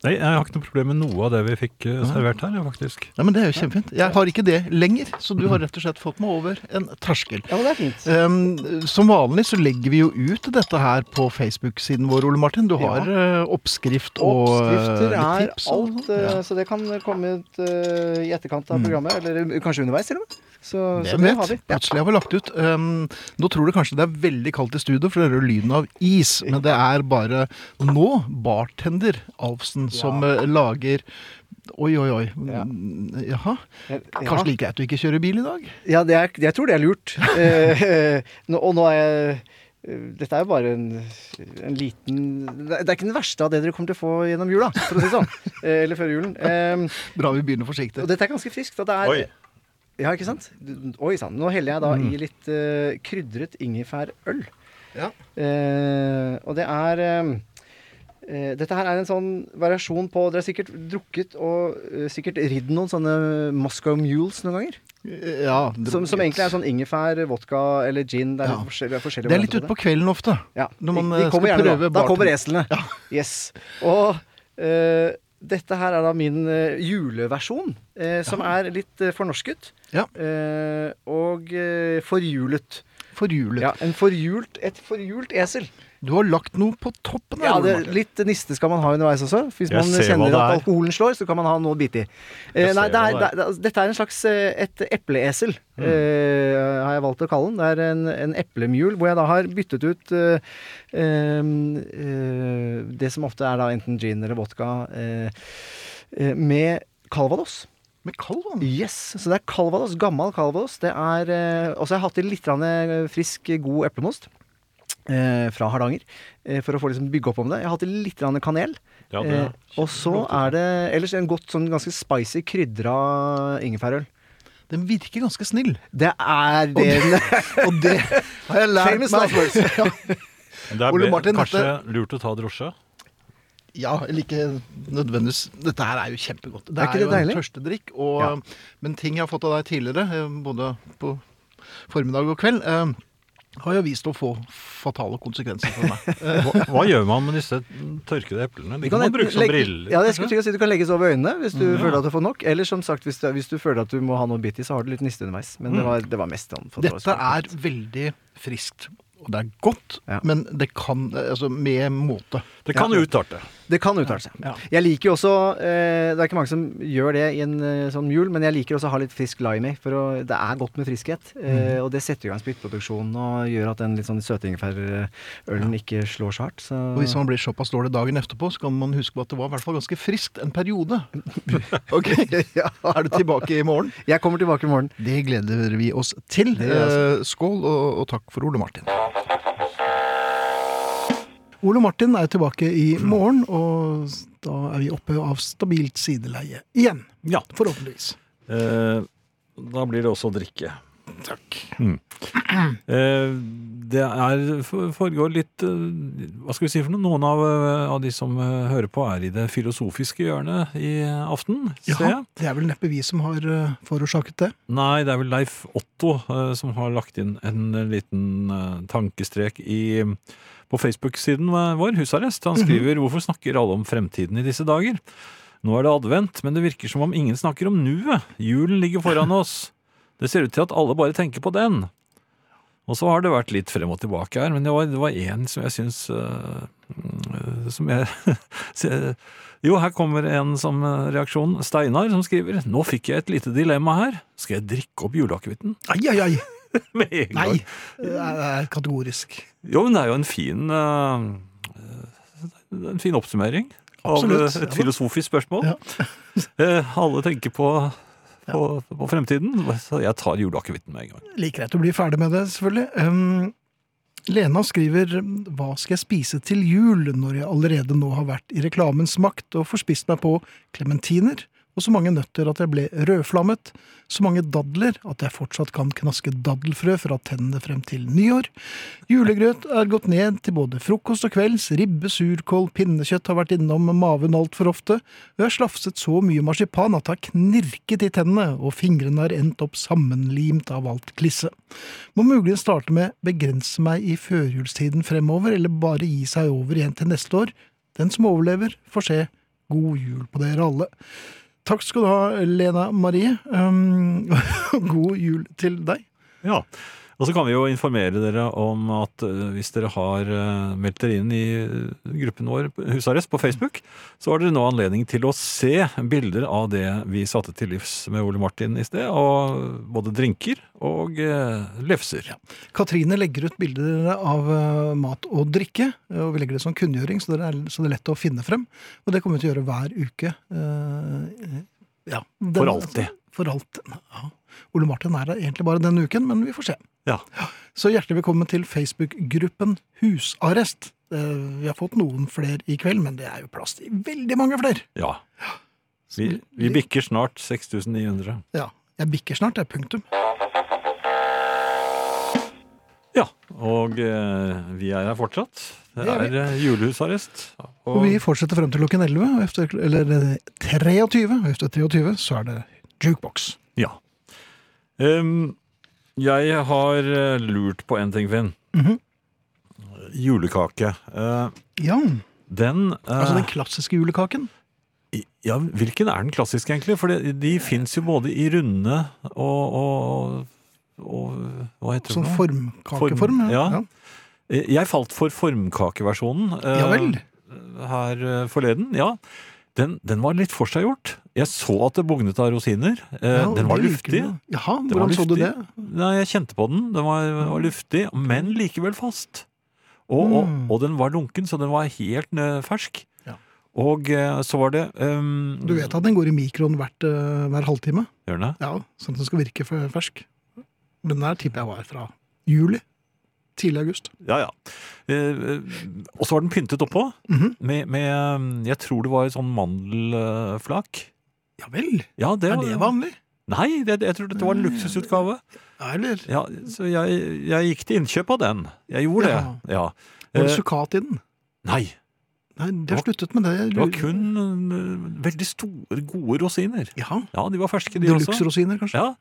S4: Nei, jeg har ikke noe problem med noe av det vi fikk eh, servert her, ja, faktisk.
S3: Nei, men Det er jo kjempefint. Jeg har ikke det lenger, så du har rett og slett fått meg over en terskel.
S7: Mm-hmm. Ja, men det er fint.
S3: Ehm, som vanlig så legger vi jo ut dette her på Facebook-siden vår, Ole Martin. Du har eh, oppskrift og
S7: Oppskrifter
S3: eh,
S7: er
S3: litt tips. og- sånn.
S7: alt, eh,
S3: Ja. Mm.
S7: så det kan komme ut eh, i etterkant av programmet. Eller eh, kanskje underveis, til og med. Så, så
S3: Hvem
S7: det har vi.
S3: vet?
S7: Ja.
S3: Plutselig har vi lagt ut. Ehm, nå tror du kanskje det er veldig kaldt i studio, for det hører lyden av is. Men det er bare nå bartender Alfsen som eh, lager Oi, oi, oi.
S7: Ja.
S3: Mm, Jaha.
S7: Ja.
S3: Kanskje like greit du ikke kjører bil i dag?
S7: Ja, det er, jeg tror det er lurt. Eh, nå, og nå er jeg eh, dette er jo bare en, en liten Det er ikke den verste av det dere kommer til å få gjennom jula. For å si det sånn. Eh, Eller før julen. Eh,
S3: Bra vi begynner forsiktig.
S7: og dette er ganske friskt. Og det er,
S4: Oi.
S7: Ja, ikke sant? Du- Oi sann. Nå heller jeg da i litt eh, krydret ingefærøl.
S3: Ja.
S7: Eh, og det er eh, eh, Dette her er en sånn variasjon på Dere har sikkert drukket og eh, sikkert ridd noen sånne Moscow Mules noen ganger.
S3: Ja,
S7: Som, som egentlig er sånn ingefær, vodka eller gin. Det
S3: Ja.
S7: er, litt forskjellige, forskjellige
S3: Det er litt
S7: varianter på
S3: utpå kvelden ofte.
S7: ja.
S3: Når man,
S7: de, de
S3: eh,
S7: kommer
S3: skal
S7: gjerne da.
S3: prøve
S7: Da kommer
S3: bartender.
S7: eslene. Yes. Og eh, dette her er da min eh, juleversjon, eh, som er litt eh, fornorsket.
S3: Ja.
S7: Eh, og eh, forhjulet.
S3: Forjulet.
S7: Ja, en forhjult, et forhjult esel.
S3: Du har lagt noe på toppen her,
S7: Ja,
S3: Ole
S7: det,
S3: Martin.
S7: litt niste skal man ha underveis også. Hvis
S4: Jeg
S7: man
S4: ser hva
S7: kjenner
S4: det
S7: at
S4: er.
S7: alkoholen slår, så kan man ha noe å bite i. Eh,
S4: Jeg
S7: nei,
S4: ser
S7: det er,
S4: hva det Mm.
S7: det, er- dette er en slags eh, et epleesel, eh, har jeg valgt å kalle den. Det er en, en eplemjul hvor jeg da har byttet ut eh, em, eh, det som ofte er da enten gin eller vodka, eh, eh, med calvados.
S3: Med kald vann?
S7: Yes, Så det er calvados, gammel calvados. Det er, eh, og så har jeg hatt i litt grann, eh, frisk, god eplemost. Eh, fra Hardanger. Eh, for å få liksom bygge opp om det. Jeg har hatt i litt grann kanel.
S4: Ja, det
S7: eh,
S4: er altså.
S7: og så er det ellers en godt, sånn ganske spicy, krydra ingefærøl.
S3: Den virker ganske snill.
S7: Det er det
S3: Og det har jeg lært
S7: Famous
S3: meg.
S7: last words.
S4: Men Det er
S3: Ole
S4: be-
S3: Martin,
S4: kanskje
S3: dette-
S4: lurt å ta drosje?
S3: Ja, eller ikke nødvendigvis. Dette her er jo kjempegodt. Det
S7: Er
S3: er,
S7: ikke
S3: jo
S7: det deilig?
S3: en tørstedrikk. Og, Men ting jeg har fått av deg tidligere, eh, både på formiddag og kveld eh,
S6: har jo vist å få fatale konsekvenser for meg. Eh,
S4: Hva, hva gjør man med disse tørkede eplene? De kan man
S7: enten
S4: bruke som
S7: legge-
S4: briller.
S7: Ja, jeg skulle til å si Du kan legges over øynene hvis du
S4: ja.
S7: føler at du får nok. Eller som sagt, hvis du, hvis du føler at du må ha noe bitt i, så har du litt niste underveis. Men
S4: Mm.
S7: det var, det var mest sånn for at det var
S6: Dette
S7: sånn.
S6: er veldig friskt. Og det er godt,
S7: Ja.
S6: men det kan Altså med måte.
S4: Det kan
S7: Ja.
S4: utarte.
S7: Det kan uttale seg.
S6: Ja.
S7: Jeg liker jo også eh, Det er ikke mange som gjør det i en eh, sånn mul, men jeg liker også å ha litt frisk lime i. For å, det er godt med friskhet. Eh,
S6: Mm.
S7: og det setter i gang spyttproduksjonen og gjør at den litt sånn søtingefærølen ikke slår så hardt. Så
S6: Og hvis man blir såpass dårlig dagen etterpå, så kan man huske på at det var i hvert fall ganske friskt en periode. ok,
S7: Ja.
S6: Er du tilbake i morgen?
S7: Jeg kommer tilbake i morgen.
S6: Det gleder vi oss til.
S7: Det gjør
S3: altså.
S7: jeg
S6: Eh, Skål, og, og takk for Ole Martin.
S3: Ole Martin er tilbake i morgen, og da er vi oppe av stabilt sideleie igjen.
S4: Ja.
S3: Forhåpentligvis.
S4: Eh, da blir det også drikke.
S3: Takk.
S4: Mm. Eh, det er, for- foregår litt eh, Hva skal vi si for noe? Noen av, eh, av de som eh, hører på, er i det filosofiske hjørnet i aften, ser
S3: Ja,
S4: jeg.
S3: det er vel neppe vi som har eh, forårsaket det.
S4: Nei, det er vel Leif Otto eh, som har lagt inn en liten eh, tankestrek i, på Facebook-siden eh, vår, Husarrest. Han skriver 'Hvorfor snakker alle om fremtiden i disse dager?' Nå er det advent, men det virker som om ingen snakker om nuet. Julen ligger foran oss. Det ser ut til at alle bare tenker på den. Og så har det vært litt frem og tilbake her, men det var- det var én som jeg syns eh, mm, Som jeg se- Jo, her kommer en som eh, reaksjon. Steinar som skriver Nå fikk jeg et lite dilemma her. Skal jeg drikke opp juleakevitten?
S3: Ai, ai, ai!
S4: Med en gang.
S3: Nei! Det er det er kategorisk.
S4: Jo, men det er jo en fin eh, eh, En fin oppsummering
S3: Absolutt.
S4: av eh, et
S3: Ja.
S4: filosofisk spørsmål. Eh, alle tenker på, på, på fremtiden, så jeg tar juleakevitten med en gang.
S3: Like greit å bli ferdig med det, selvfølgelig. Um, Lena skriver Hva skal jeg spise til jul, når jeg allerede nå har vært i reklamens makt og får spist meg på klementiner, og så mange nøtter at jeg ble rødflammet, så mange dadler at jeg fortsatt kan knaske daddelfrø fra tennene frem til nyår. Julegrøt er gått ned til både frokost og kvelds, ribbe, surkål, pinnekjøtt har vært innom maven altfor ofte, og jeg har slafset så mye marsipan at det har knirket i tennene, og fingrene har endt opp sammenlimt av alt klisset. Må muligens starte med begrense meg i førjulstiden fremover, eller bare gi seg over igjen til neste år. Den som overlever, får se. God jul på dere alle. Takk skal du ha, Lena Marie. Um, god jul til deg.
S4: Ja. Og så kan vi jo informere dere om at eh, hvis dere har eh, meldt dere inn i eh, gruppen vår Husarrest på Facebook, så har dere nå anledning til å se bilder av det vi satte til livs med Ole Martin i sted. Og både drinker og eh, lefser.
S3: Katrine legger ut bilder av eh, mat og drikke, eh, og vi legger det som kunngjøring, så det er, så det er lett å finne frem. Og det kommer vi til å gjøre hver uke. eh, ja, den-
S4: For alltid.
S3: For alltid. Ja. Ole Martin er her egentlig bare denne uken, men vi får se.
S4: Ja.
S3: Så hjertelig velkommen til Facebook-gruppen Husarrest. Eh, Vi har fått noen flere i kveld, men det er jo plass til veldig mange flere.
S4: ja. Vi, vi bikker snart 6900.
S3: Ja, jeg bikker snart, det er punktum.
S4: Ja, og eh, vi er her fortsatt. Det
S3: Det er
S4: er
S3: vi.
S4: eh, julehusarrest.
S3: Og vi fortsetter frem til klokken 11, og efter, eller eh, 23, og efter 23 så er det jukebox.
S4: Ja. Ehm, jeg har eh, lurt på en ting, Finn.
S3: Mhm.
S4: Julekake. Eh,
S3: Ja,
S4: den eh,
S3: altså den klassiske julekaken.
S4: i- ja, Hvilken er den klassiske, egentlig? For de, de fins jo både i runde og, og, og Hva heter
S3: Sånn
S4: det? for noe?
S3: formkakeform.
S4: Form, ja. Eh, Jeg falt for formkakeversjonen eh,
S3: Ja vel.
S4: her eh, forleden. Ja. Den, den var litt forseggjort. Jeg så at det bugnet av rosiner. Eh,
S3: Ja,
S4: den var
S3: det virker
S4: luftig.
S3: jo. Jaha,
S4: Den var
S3: hvordan så du
S4: luftig.
S3: det?
S4: Nei, jeg kjente på den. Den var, var luftig, men likevel fast. Og,
S3: Mm.
S4: og, og den var lunken, så den var helt eh, fersk.
S3: Ja.
S4: Og eh, så var det um,
S3: Du vet at den går i mikroen hvert, eh, hver halvtime?
S4: Gjør den det?
S3: Ja, sånn at den skal virke f- fersk. Den der tipper jeg var fra juli. Tidlig august.
S4: Ja, ja. Eh, eh, og så var den pyntet oppå
S3: Mhm.
S4: med, med eh, Jeg tror det var sånn mandelflak.
S3: Ja vel,
S4: Ja, det,
S3: er
S4: var-
S3: det Mm. vanlig?
S4: Nei, det, jeg tror dette var en luksusutgave.
S3: Ja, eller?
S4: Ja, så jeg, jeg gikk til innkjøp av den. Jeg gjorde det. Ja.
S3: Var det
S4: Eh,
S3: sukkat i den?
S4: nei.
S3: Nei, det har sluttet med det.
S4: Det var kun eh, veldig store, gode rosiner.
S3: Ja.
S4: Ja, de var ferske, de også.
S3: Deluxe-rosiner, kanskje.
S4: Ja.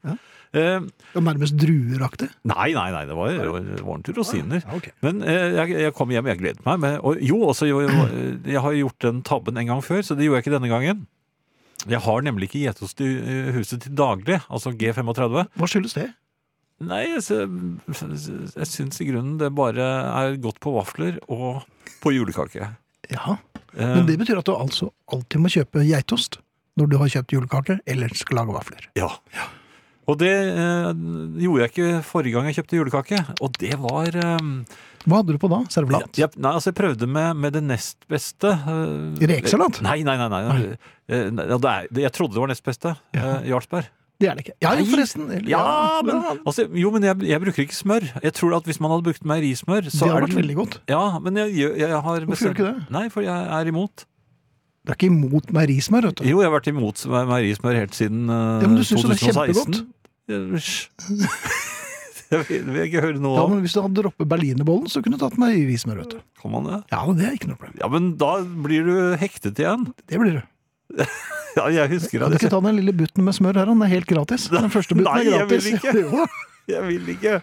S4: Eh,
S3: Ja, Nærmest drueraktig.
S4: nei, nei, nei, det var, det var ordentlige rosiner.
S3: Ja, ok.
S4: Men eh, jeg, jeg kom hjem, jeg gledet meg. Med, og jo, også, jo, jo, jeg har gjort den tabben en gang før, så det gjorde jeg ikke denne gangen. Jeg har nemlig ikke geitost i eh, huset til daglig, altså G35.
S3: Hva skyldes det?
S4: Nei, jeg, sy- jeg syns i grunnen det bare er godt på vafler og på julekake.
S3: Ja,
S4: Eh,
S3: Men det betyr at du altså alltid må kjøpe geitost når du har kjøpt julekake eller skal lage vafler.
S4: Ja. Og det eh, gjorde jeg ikke forrige gang jeg kjøpte julekake. Og det var eh,
S3: Hva hadde du på da? Servelat?
S4: jeg, Nei, altså jeg prøvde med, med det nest beste. eh,
S3: Rekesalat?
S4: Nei, nei, nei. nei. Eh, nei, ja, det er, det, jeg trodde det var nest beste.
S3: Ja.
S4: Eh, Jarlsberg.
S3: Det er det ikke. Ja, jo,
S4: Nei.
S3: forresten. Eller-
S4: Ja, men,
S3: ja,
S4: altså, jo, men jeg, jeg bruker ikke smør. Jeg tror at hvis man hadde brukt meierismør,
S3: Det
S4: så
S3: har
S4: er
S3: vært veldig godt.
S4: Ja, men jeg, gjør- jeg har
S3: Hvorfor gjør du ikke det?
S4: Nei, for jeg er imot.
S3: Du er ikke imot meierismør, vet du.
S4: Jo, jeg har vært imot me- meierismør helt siden eh,
S3: Ja, men du synes jo det er
S4: 2016. Det jeg vil, vil jeg ikke høre noe
S3: Ja,
S4: om.
S3: men Hvis du hadde droppet berlinerbollen, så kunne du tatt meierismør, vet du.
S4: Kan man det?
S3: Ja, det er ikke noe problem.
S4: Ja, men da blir du hektet igjen.
S3: Det blir det.
S4: Ja, jeg husker
S3: Kan du
S4: at
S3: ikke
S4: jeg,
S3: ta den lille butten med smør her, han er helt gratis. Den første butten
S4: Nei,
S3: er
S4: jeg vil
S3: gratis.
S4: ikke.
S3: Jo da.
S4: jeg vil ikke.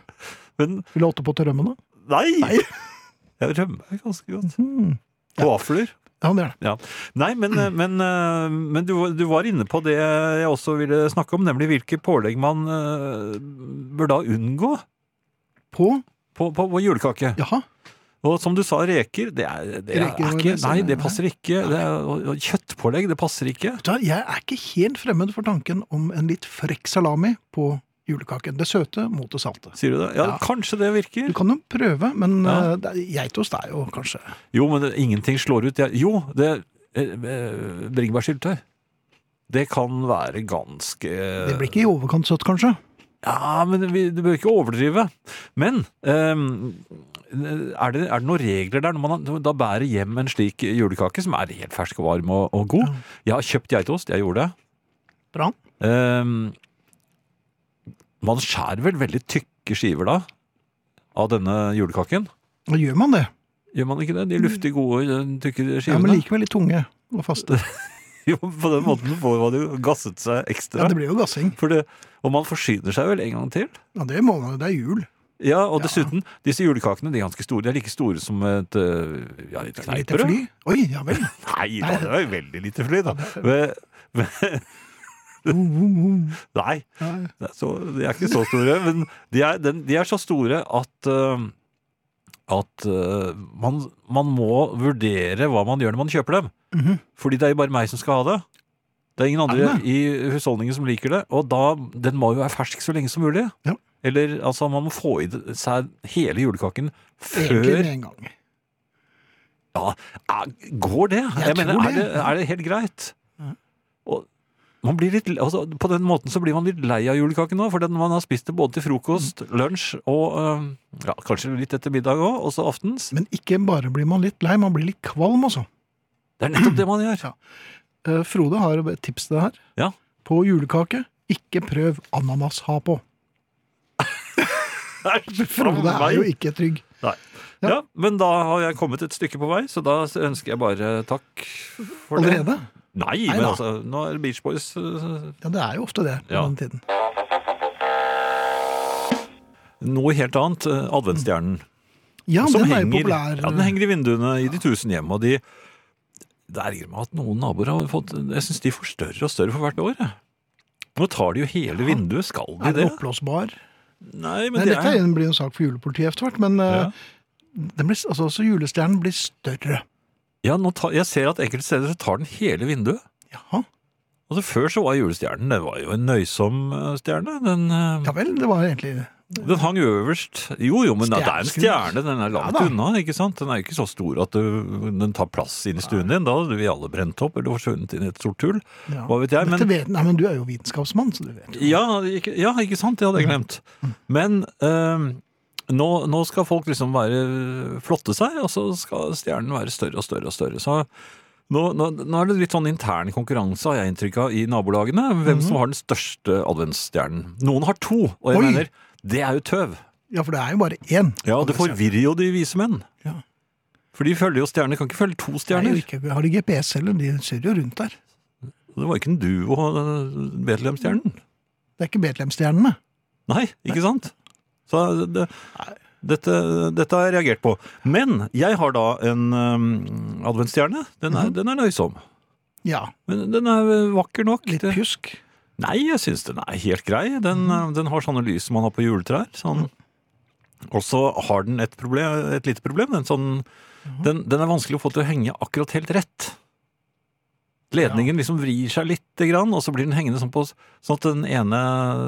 S4: Men
S3: Vil du ha åttepå til rømmen, da?
S4: nei! Jeg rømmer ganske godt.
S3: Mm.
S4: På vafler.
S3: Ja, det er det.
S4: Ja. Nei, men, men, eh, men du, du var inne på det jeg også ville snakke om, nemlig hvilke pålegg man eh, bør da unngå
S3: På
S4: på, på, på julekake.
S3: Jaha.
S4: Og som du sa, reker det er, det er,
S3: Reker var
S4: ikke
S3: det som-
S4: Nei, det passer ikke. Det er, og- og kjøttpålegg, det passer ikke.
S3: Vet du hva, Jeg er ikke helt fremmed for tanken om en litt frekk salami på julekaken. Det søte mot det salte.
S4: Sier du det? Ja,
S3: Ja.
S4: kanskje det
S3: Du
S4: virker.
S3: kan jo prøve, men
S4: Ja.
S3: eh, det er- geitost er jo kanskje
S4: Jo, men det, ingenting slår ut. Jeg, jo, det eh, eh, Bringebærsyltetøy. Det kan være ganske
S3: Det blir ikke i overkant søtt, kanskje?
S4: Ja, men vi, du bør ikke overdrive. Men ehm, er, det, er det noen regler der når man har- da bærer hjem en slik julekake, som er helt fersk og varm og, og god? Jeg har kjøpt geitost, jeg gjorde det.
S3: Bra.
S4: Ehm, man skjærer vel veldig tykke skiver da, av denne julekaken?
S3: Da gjør man det.
S4: Gjør man ikke det? De luftig gode, eh, tykke
S3: Mm. Ja, men
S4: skivene?
S3: likevel litt tunge og faste.
S4: Jo, på den måten får man jo gasset seg
S3: Ja,
S4: ekstra.
S3: det blir jo gassing.
S4: For det, og man forsyner seg vel en gang til?
S3: Ja, det må man jo. Det er jul.
S4: Ja, og dessuten, disse julekakene de er ganske store. De er like store som et, øh, ja, et
S3: Et lite
S4: kneippbrød.
S3: fly. Oi, ja vel.
S4: Nei, da, det var jo veldig lite fly, da. Men, nei,
S3: Nei.
S4: det er så, de er ikke så store. Men de er, den, de er så store at øh, at øh, man, man må vurdere hva man gjør når man kjøper dem.
S3: Mhm.
S4: Fordi det er jo bare meg som skal ha det. Det er ingen andre
S3: Er
S4: i husholdningen som liker det. Og da, den må jo være fersk så lenge som mulig.
S3: Ja.
S4: Eller altså, man må få i det- seg hele julekaken
S3: Egentlig
S4: før
S3: med en gang.
S4: Ja, er- går det? Jeg,
S3: Jeg
S4: mener,
S3: tror
S4: Er,
S3: det.
S4: det, er det helt greit?
S3: Ja.
S4: Og man blir litt, altså, på den måten så blir man litt lei av julekaken nå, for den man har spist det både til frokost,
S3: Mm.
S4: lunsj og eh, ja, kanskje litt etter middag òg, også aftens.
S3: Men ikke bare blir man litt lei, man blir litt kvalm også.
S4: Det er nettopp det man gjør.
S3: Eh, Frode har et tips til deg her.
S4: Ja.
S3: På julekake, ikke prøv ananas ha på. Frode er jo ikke trygg.
S4: Nei.
S3: Ja.
S4: Ja, men da har jeg kommet et stykke på vei, så da ønsker jeg bare takk for det.
S3: Allerede?
S4: Nei,
S3: Nei
S4: men
S3: da.
S4: altså, nå er det Beach Boys eh,
S3: Ja, det er jo ofte det på
S4: Ja.
S3: den tiden.
S4: noe helt annet. eh, Adventsstjernen.
S3: Ja,
S4: som
S3: den er jo
S4: henger-
S3: populær.
S4: Ja, den henger i vinduene i de tusen hjem, og de Det ergrer meg at noen naboer har fått Jeg syns de får større og større for hvert år. jeg. Nå tar de jo hele vinduet, skal de
S3: Er den
S4: det?
S3: eh, oppblåsbar?
S4: Nei, men
S3: Nei,
S4: det
S3: dette
S4: er
S3: blir en sak for julepolitiet etter hvert, men eh,
S4: ja.
S3: den blir, altså, også julestjernen blir større.
S4: ja, nå tar, Jeg ser at enkelte steder så tar den hele vinduet.
S3: Jaha.
S4: Altså Før så var julestjernen det var jo en nøysom eh, stjerne. Den, eh,
S3: Ja vel, det var egentlig
S4: den hang øverst. Jo, jo, men det er en
S3: Stjerneskudd.
S4: stjerne. Den er
S3: Ja
S4: langt
S3: da.
S4: unna. ikke sant? Den er jo ikke så stor at du, den tar plass inn i stuen din. Da hadde vi alle brent opp eller forsvunnet inn i et stort hull.
S3: ja.
S4: Hva vet jeg, men-
S3: Dette vet, nei, men du er jo vitenskapsmann, så du Mm. vet. jo.
S4: Ja, ikke, ja, ikke sant? Det hadde jeg glemt. Men ehm, nå, nå skal folk liksom være, flotte seg, og så skal stjernen være større og større og større. Så nå, nå, nå er det litt sånn intern konkurranse, har jeg inntrykk av, i nabolagene. Hvem som har den største adventsstjernen. Noen har to, og jeg
S3: Mhm. Oi!
S4: mener det er jo tøv.
S3: Ja, for det er jo bare én.
S4: Ja, det forvirrer jo de vise menn.
S3: Ja.
S4: For de følger jo stjerner, kan ikke følge to
S3: Nei,
S4: stjerner.
S3: og ikke- Har de GPS heller? De kjører jo rundt der.
S4: Det var ikke en duo, eh, Betlehem-stjernen.
S3: Det er ikke Betlehemstjernene.
S4: Nei, ikke sant? Så eh, det, dette, dette har jeg reagert på. Men jeg har da en um, adventsstjerne. Den er, den er nøysom.
S3: Ja.
S4: Men den er eh, vakker nok.
S3: Litt
S4: Det-
S3: pjusk. Mhm.
S4: Nei, jeg syns den er helt grei. Den, eh, den har sånne lys som man har på juletrær. Sånn.
S3: Mhm.
S4: Og så har den et, problem, et lite problem. Den, sånn,
S3: Mhm.
S4: den, den er vanskelig å få til å henge akkurat helt rett. Ledningen liksom vrir seg lite grann, og så blir den hengende sånn, på, sånn at den ene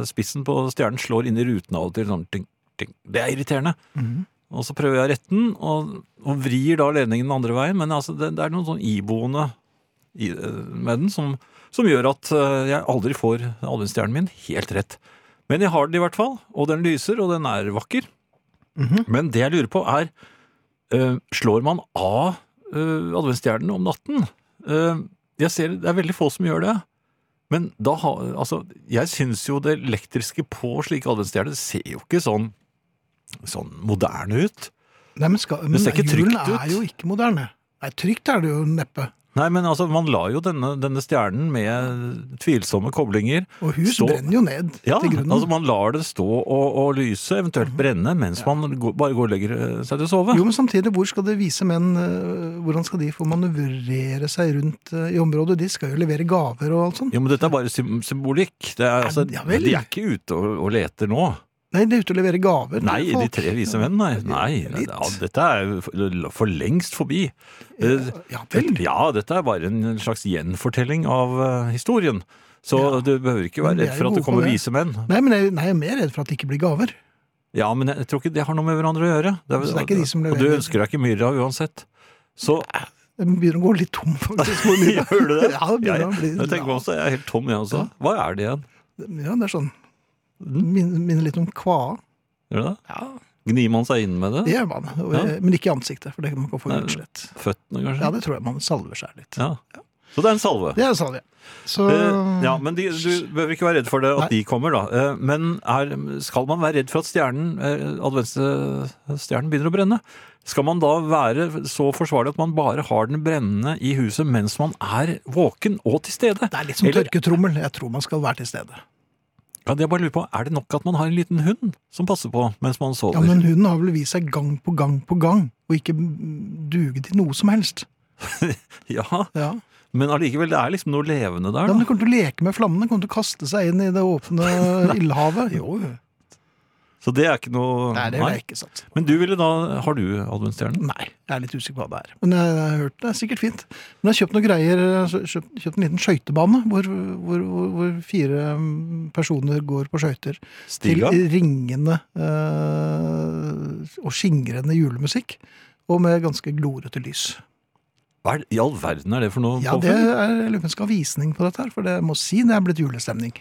S4: spissen på stjernen slår inn i ruten av og til. Sånn, ting, ting. Det er irriterende.
S3: Mhm.
S4: Og så prøver jeg retten, og, og vrir da ledningen den andre veien. Men altså, det, det er noen sånn iboende i, med den som, som gjør at eh, jeg aldri får adventsstjernen min helt rett. Men jeg har den i hvert fall, og den lyser, og den er vakker.
S3: Mhm.
S4: Men det jeg lurer på er, eh, slår man av uh, adventsstjernen om natten? Eh, jeg ser det er veldig få som gjør det. Men da har, altså, jeg syns jo det elektriske på slike adventsstjerner det ser jo ikke sånn, sånn moderne ut.
S3: Nei, men, skal, men
S4: Det ser ikke
S3: julen
S4: trygt ut.
S3: er jo ikke moderne. Nei, trygt er det jo neppe.
S4: Nei, men altså, man la jo denne, denne stjernen med tvilsomme koblinger
S3: Og hus
S4: Stå-
S3: brenner jo ned
S4: Ja,
S3: til grunnen. Mhm.
S4: altså man lar det stå og, og lyse, eventuelt brenne, mens man går, bare går og legger eh, seg til å sove.
S3: Jo, men samtidig, hvor skal det vise menn øh, Hvordan skal de få manøvrere seg rundt øh, i området? De skal jo levere gaver og alt sånt.
S4: Jo, men dette er bare sym symbolikk. Det er, altså,
S3: Ja, ja vel.
S4: de er ikke ute og, og leter nå.
S3: Nei, de er ute og leverer gaver. til
S4: Nei, de
S3: folk.
S4: tre vise menn, nei. nei
S3: Litt.
S4: ja, dette er jo for- for lengst forbi. Eh,
S3: Ja vel.
S4: Dette, ja, dette er bare en slags gjenfortelling av eh, historien. Så
S3: Ja.
S4: du behøver ikke
S3: Men
S4: være
S3: de
S4: redd
S3: er
S4: for
S3: jo
S4: at
S3: gode
S4: det
S3: på
S4: kommer
S3: det.
S4: vise menn.
S3: Nei, men jeg, nei, jeg er mer redd for at det ikke blir gaver.
S4: Ja, men jeg tror ikke det har noe med hverandre å gjøre.
S3: Så det er ikke de som
S4: og du
S3: leverer.
S4: ønsker deg ikke myrra uansett. Så
S3: Jeg begynner å gå litt tom, faktisk. hvor mye-
S4: Gjør du det?
S3: Ja, det
S4: jeg,
S3: begynner å bli
S4: jeg tenker meg også, jeg er helt tom, jeg også. Hva er det igjen?
S3: Ja, det er sånn. Minner, minner litt om kvae.
S4: Gjør det? det? Gnir man seg inn med det?
S3: Det gjør man. og
S4: Ja.
S3: jeg- Men ikke i ansiktet, for det kan man få
S4: Nei.
S3: utslett.
S4: Føttene, kanskje?
S3: Ja, det tror jeg man salver seg litt.
S4: Ja. Så det er en salve.
S3: Det er salve. Så
S4: Eh, ja, men de, Du behøver ikke være redd for det at
S3: Nei.
S4: de kommer, da. Eh, Men er, skal man være redd for at stjernen, eh, adventsstjernen begynner å brenne? Skal man da være så forsvarlig at man bare har den brennende i huset mens man er våken og til stede?
S3: det er litt som
S4: Eller-
S3: tørketrommel. Jeg tror man skal være til stede.
S4: Ja, det jeg bare lurer på, Er det nok at man har en liten hund som passer på mens man sover?
S3: Ja, Men hunden har vel vist seg gang på gang på gang, og ikke mm, duge til noe som helst.
S4: Ja,
S3: Ja,
S4: Men allikevel, det er liksom noe levende der.
S3: ja men
S4: Da.
S3: Den kommer til å leke med flammene, kommer til å kaste seg inn i det åpne ildhavet. Jo, jo.
S4: Så det er ikke noe
S3: Nei, det vil jeg ikke satse på.
S4: Men du ville da Har du adventsstjernen?
S3: Nei, jeg er litt usikker på hva det er. Men jeg, jeg har hørt det er sikkert fint. Men jeg har kjøpt noen greier, jeg har kjøpt, kjøpt en liten skøytebane hvor, hvor, hvor, hvor fire mm, personer går på skøyter til
S4: Stiga?
S3: ringende eh, og skingrende julemusikk. Og med ganske glorete lys.
S4: Hva er, I all verden er det for noe
S3: Ja, det
S4: påfunn?
S3: er, jeg lurer på om jeg skal ha visning på dette her, for det jeg må si det er blitt julestemning.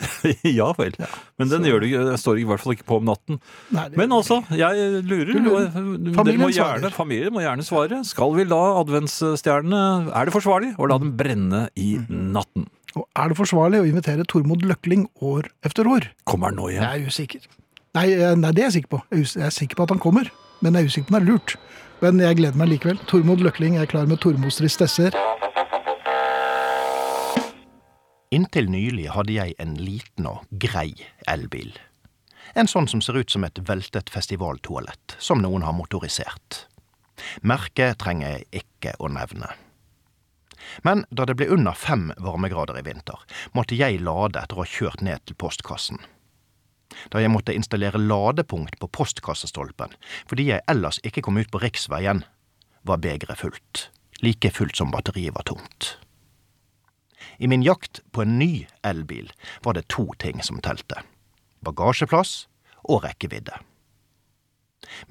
S4: ja vel. Men den gjør det, ikke- den står i hvert fall ikke på om natten.
S3: Nei, det-
S4: Men altså, jeg lurer.
S3: Du lurer.
S4: og, eh, Dere
S3: Familien
S4: må gjerne,
S3: svarer.
S4: familien må gjerne svare. Skal vi la adventsstjernene Er det forsvarlig å la dem brenne i
S3: Mhm.
S4: natten?
S3: Og er det forsvarlig å invitere Tormod Løkling år efter år?
S4: Kommer den nå igjen?
S3: Jeg er usikker. Nei, eh, nei, det er jeg sikker på. Jeg er us- jeg er sikker på at han kommer, men jeg er usikker på om det er lurt. Men jeg gleder meg likevel. Tormod Løkling er klar med Tormods tristesser.
S7: Inntil nylig hadde jeg en liten og grei elbil. En sånn som ser ut som et veltet festivaltoalett, som noen har motorisert. Merket trenger jeg ikke å nevne. Men da det ble under fem varmegrader i vinter, måtte jeg lade etter å ha kjørt ned til postkassen. Da jeg måtte installere ladepunkt på postkassestolpen fordi jeg ellers ikke kom ut på riksveien, var begeret fullt. Like fullt som batteriet var tomt. I min jakt på en ny elbil var det to ting som telte. Bagasjeplass og rekkevidde.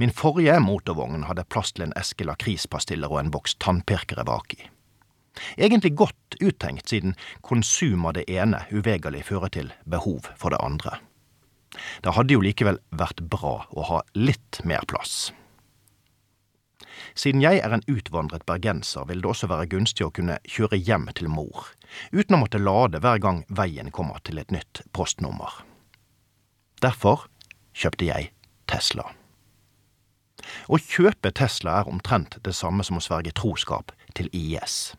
S7: Min forrige motorvogn hadde plass til en eske lakrispastiller og en boks tannpirkere bak i. Egentlig godt uttenkt, siden konsum av det ene uvegerlig fører til behov for det andre. Det hadde jo likevel vært bra å ha litt mer plass. Siden jeg er en utvandret bergenser, vil det også være gunstig å kunne kjøre hjem til mor, uten å måtte lade hver gang veien kommer til et nytt postnummer. Derfor kjøpte jeg Tesla. Å kjøpe Tesla er omtrent det samme som å sverge troskap til IS.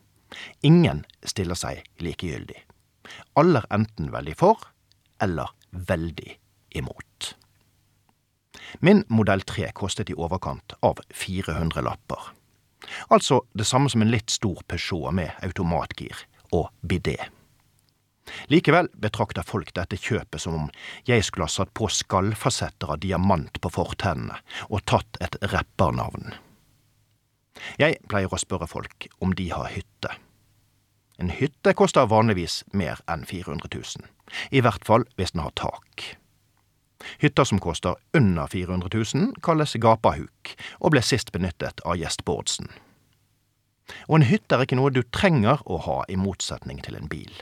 S7: Ingen stiller seg likegyldig. Alle er enten veldig for eller veldig imot. Min modell 3 kostet i overkant av 400 lapper. Altså det samme som en litt stor Peugeot med automatgir og bidé. Likevel betrakter folk dette kjøpet som om jeg skulle ha satt på skallfasetter av diamant på fortennene og tatt et rappernavn. Jeg pleier å spørre folk om de har hytte. En hytte koster vanligvis mer enn 400 000, i hvert fall hvis den har tak. Hytter som koster under 400 000, kalles gapahuk, og ble sist benyttet av Gjest Bårdsen. Og en hytte er ikke noe du trenger å ha i motsetning til en bil.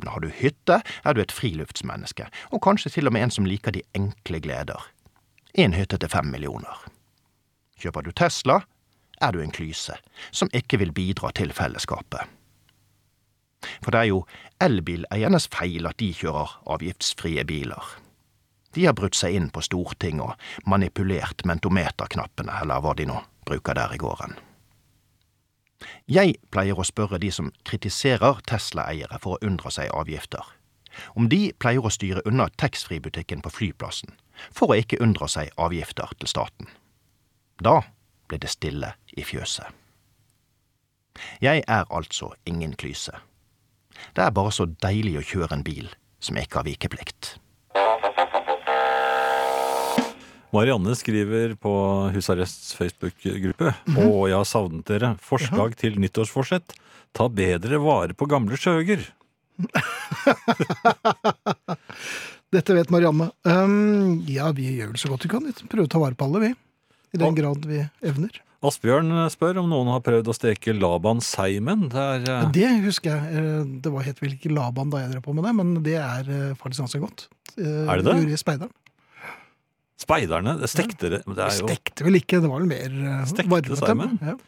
S7: Men har du hytte, er du et friluftsmenneske, og kanskje til og med en som liker de enkle gleder. En hytte til fem millioner. Kjøper du Tesla, er du en klyse, som ikke vil bidra til fellesskapet. For det er jo elbileiernes feil at de kjører avgiftsfrie biler. De har brutt seg inn på Stortinget og manipulert mentometerknappene, eller hva de nå bruker der i gården. Jeg pleier å spørre de som kritiserer Tesla-eiere for å unndra seg avgifter, om de pleier å styre unna taxfree-butikken på flyplassen for å ikke unndra seg avgifter til staten. Da ble det stille i fjøset. Jeg er altså ingen klyse. Det er bare så deilig å kjøre en bil som ikke har vikeplikt.
S4: Marianne skriver på Husarrests Facebook-gruppe
S3: Mhm.
S4: Å, jeg har savnet dere. Forslag til nyttårsforsett. Ta bedre vare på gamle skjøger.
S3: Dette vet Marianne. Um, ja, vi gjør vel så godt vi kan. Vi prøver å ta vare på alle, vi. I den
S4: Og-
S3: grad vi evner.
S4: Asbjørn spør om noen har prøvd å steke laban-seimen. Det er eh,
S3: Det husker jeg. eh, Det var het vel ikke Laban da jeg drev på med det, men det er eh, faktisk ganske godt.
S4: Er det det?
S3: Gjorde i speideren.
S4: speiderne. Det stekte det. men det er jo...
S3: Stekte vel ikke, det var vel mer eh,
S4: Stekte
S3: varmet.
S4: seimen?
S3: Ja.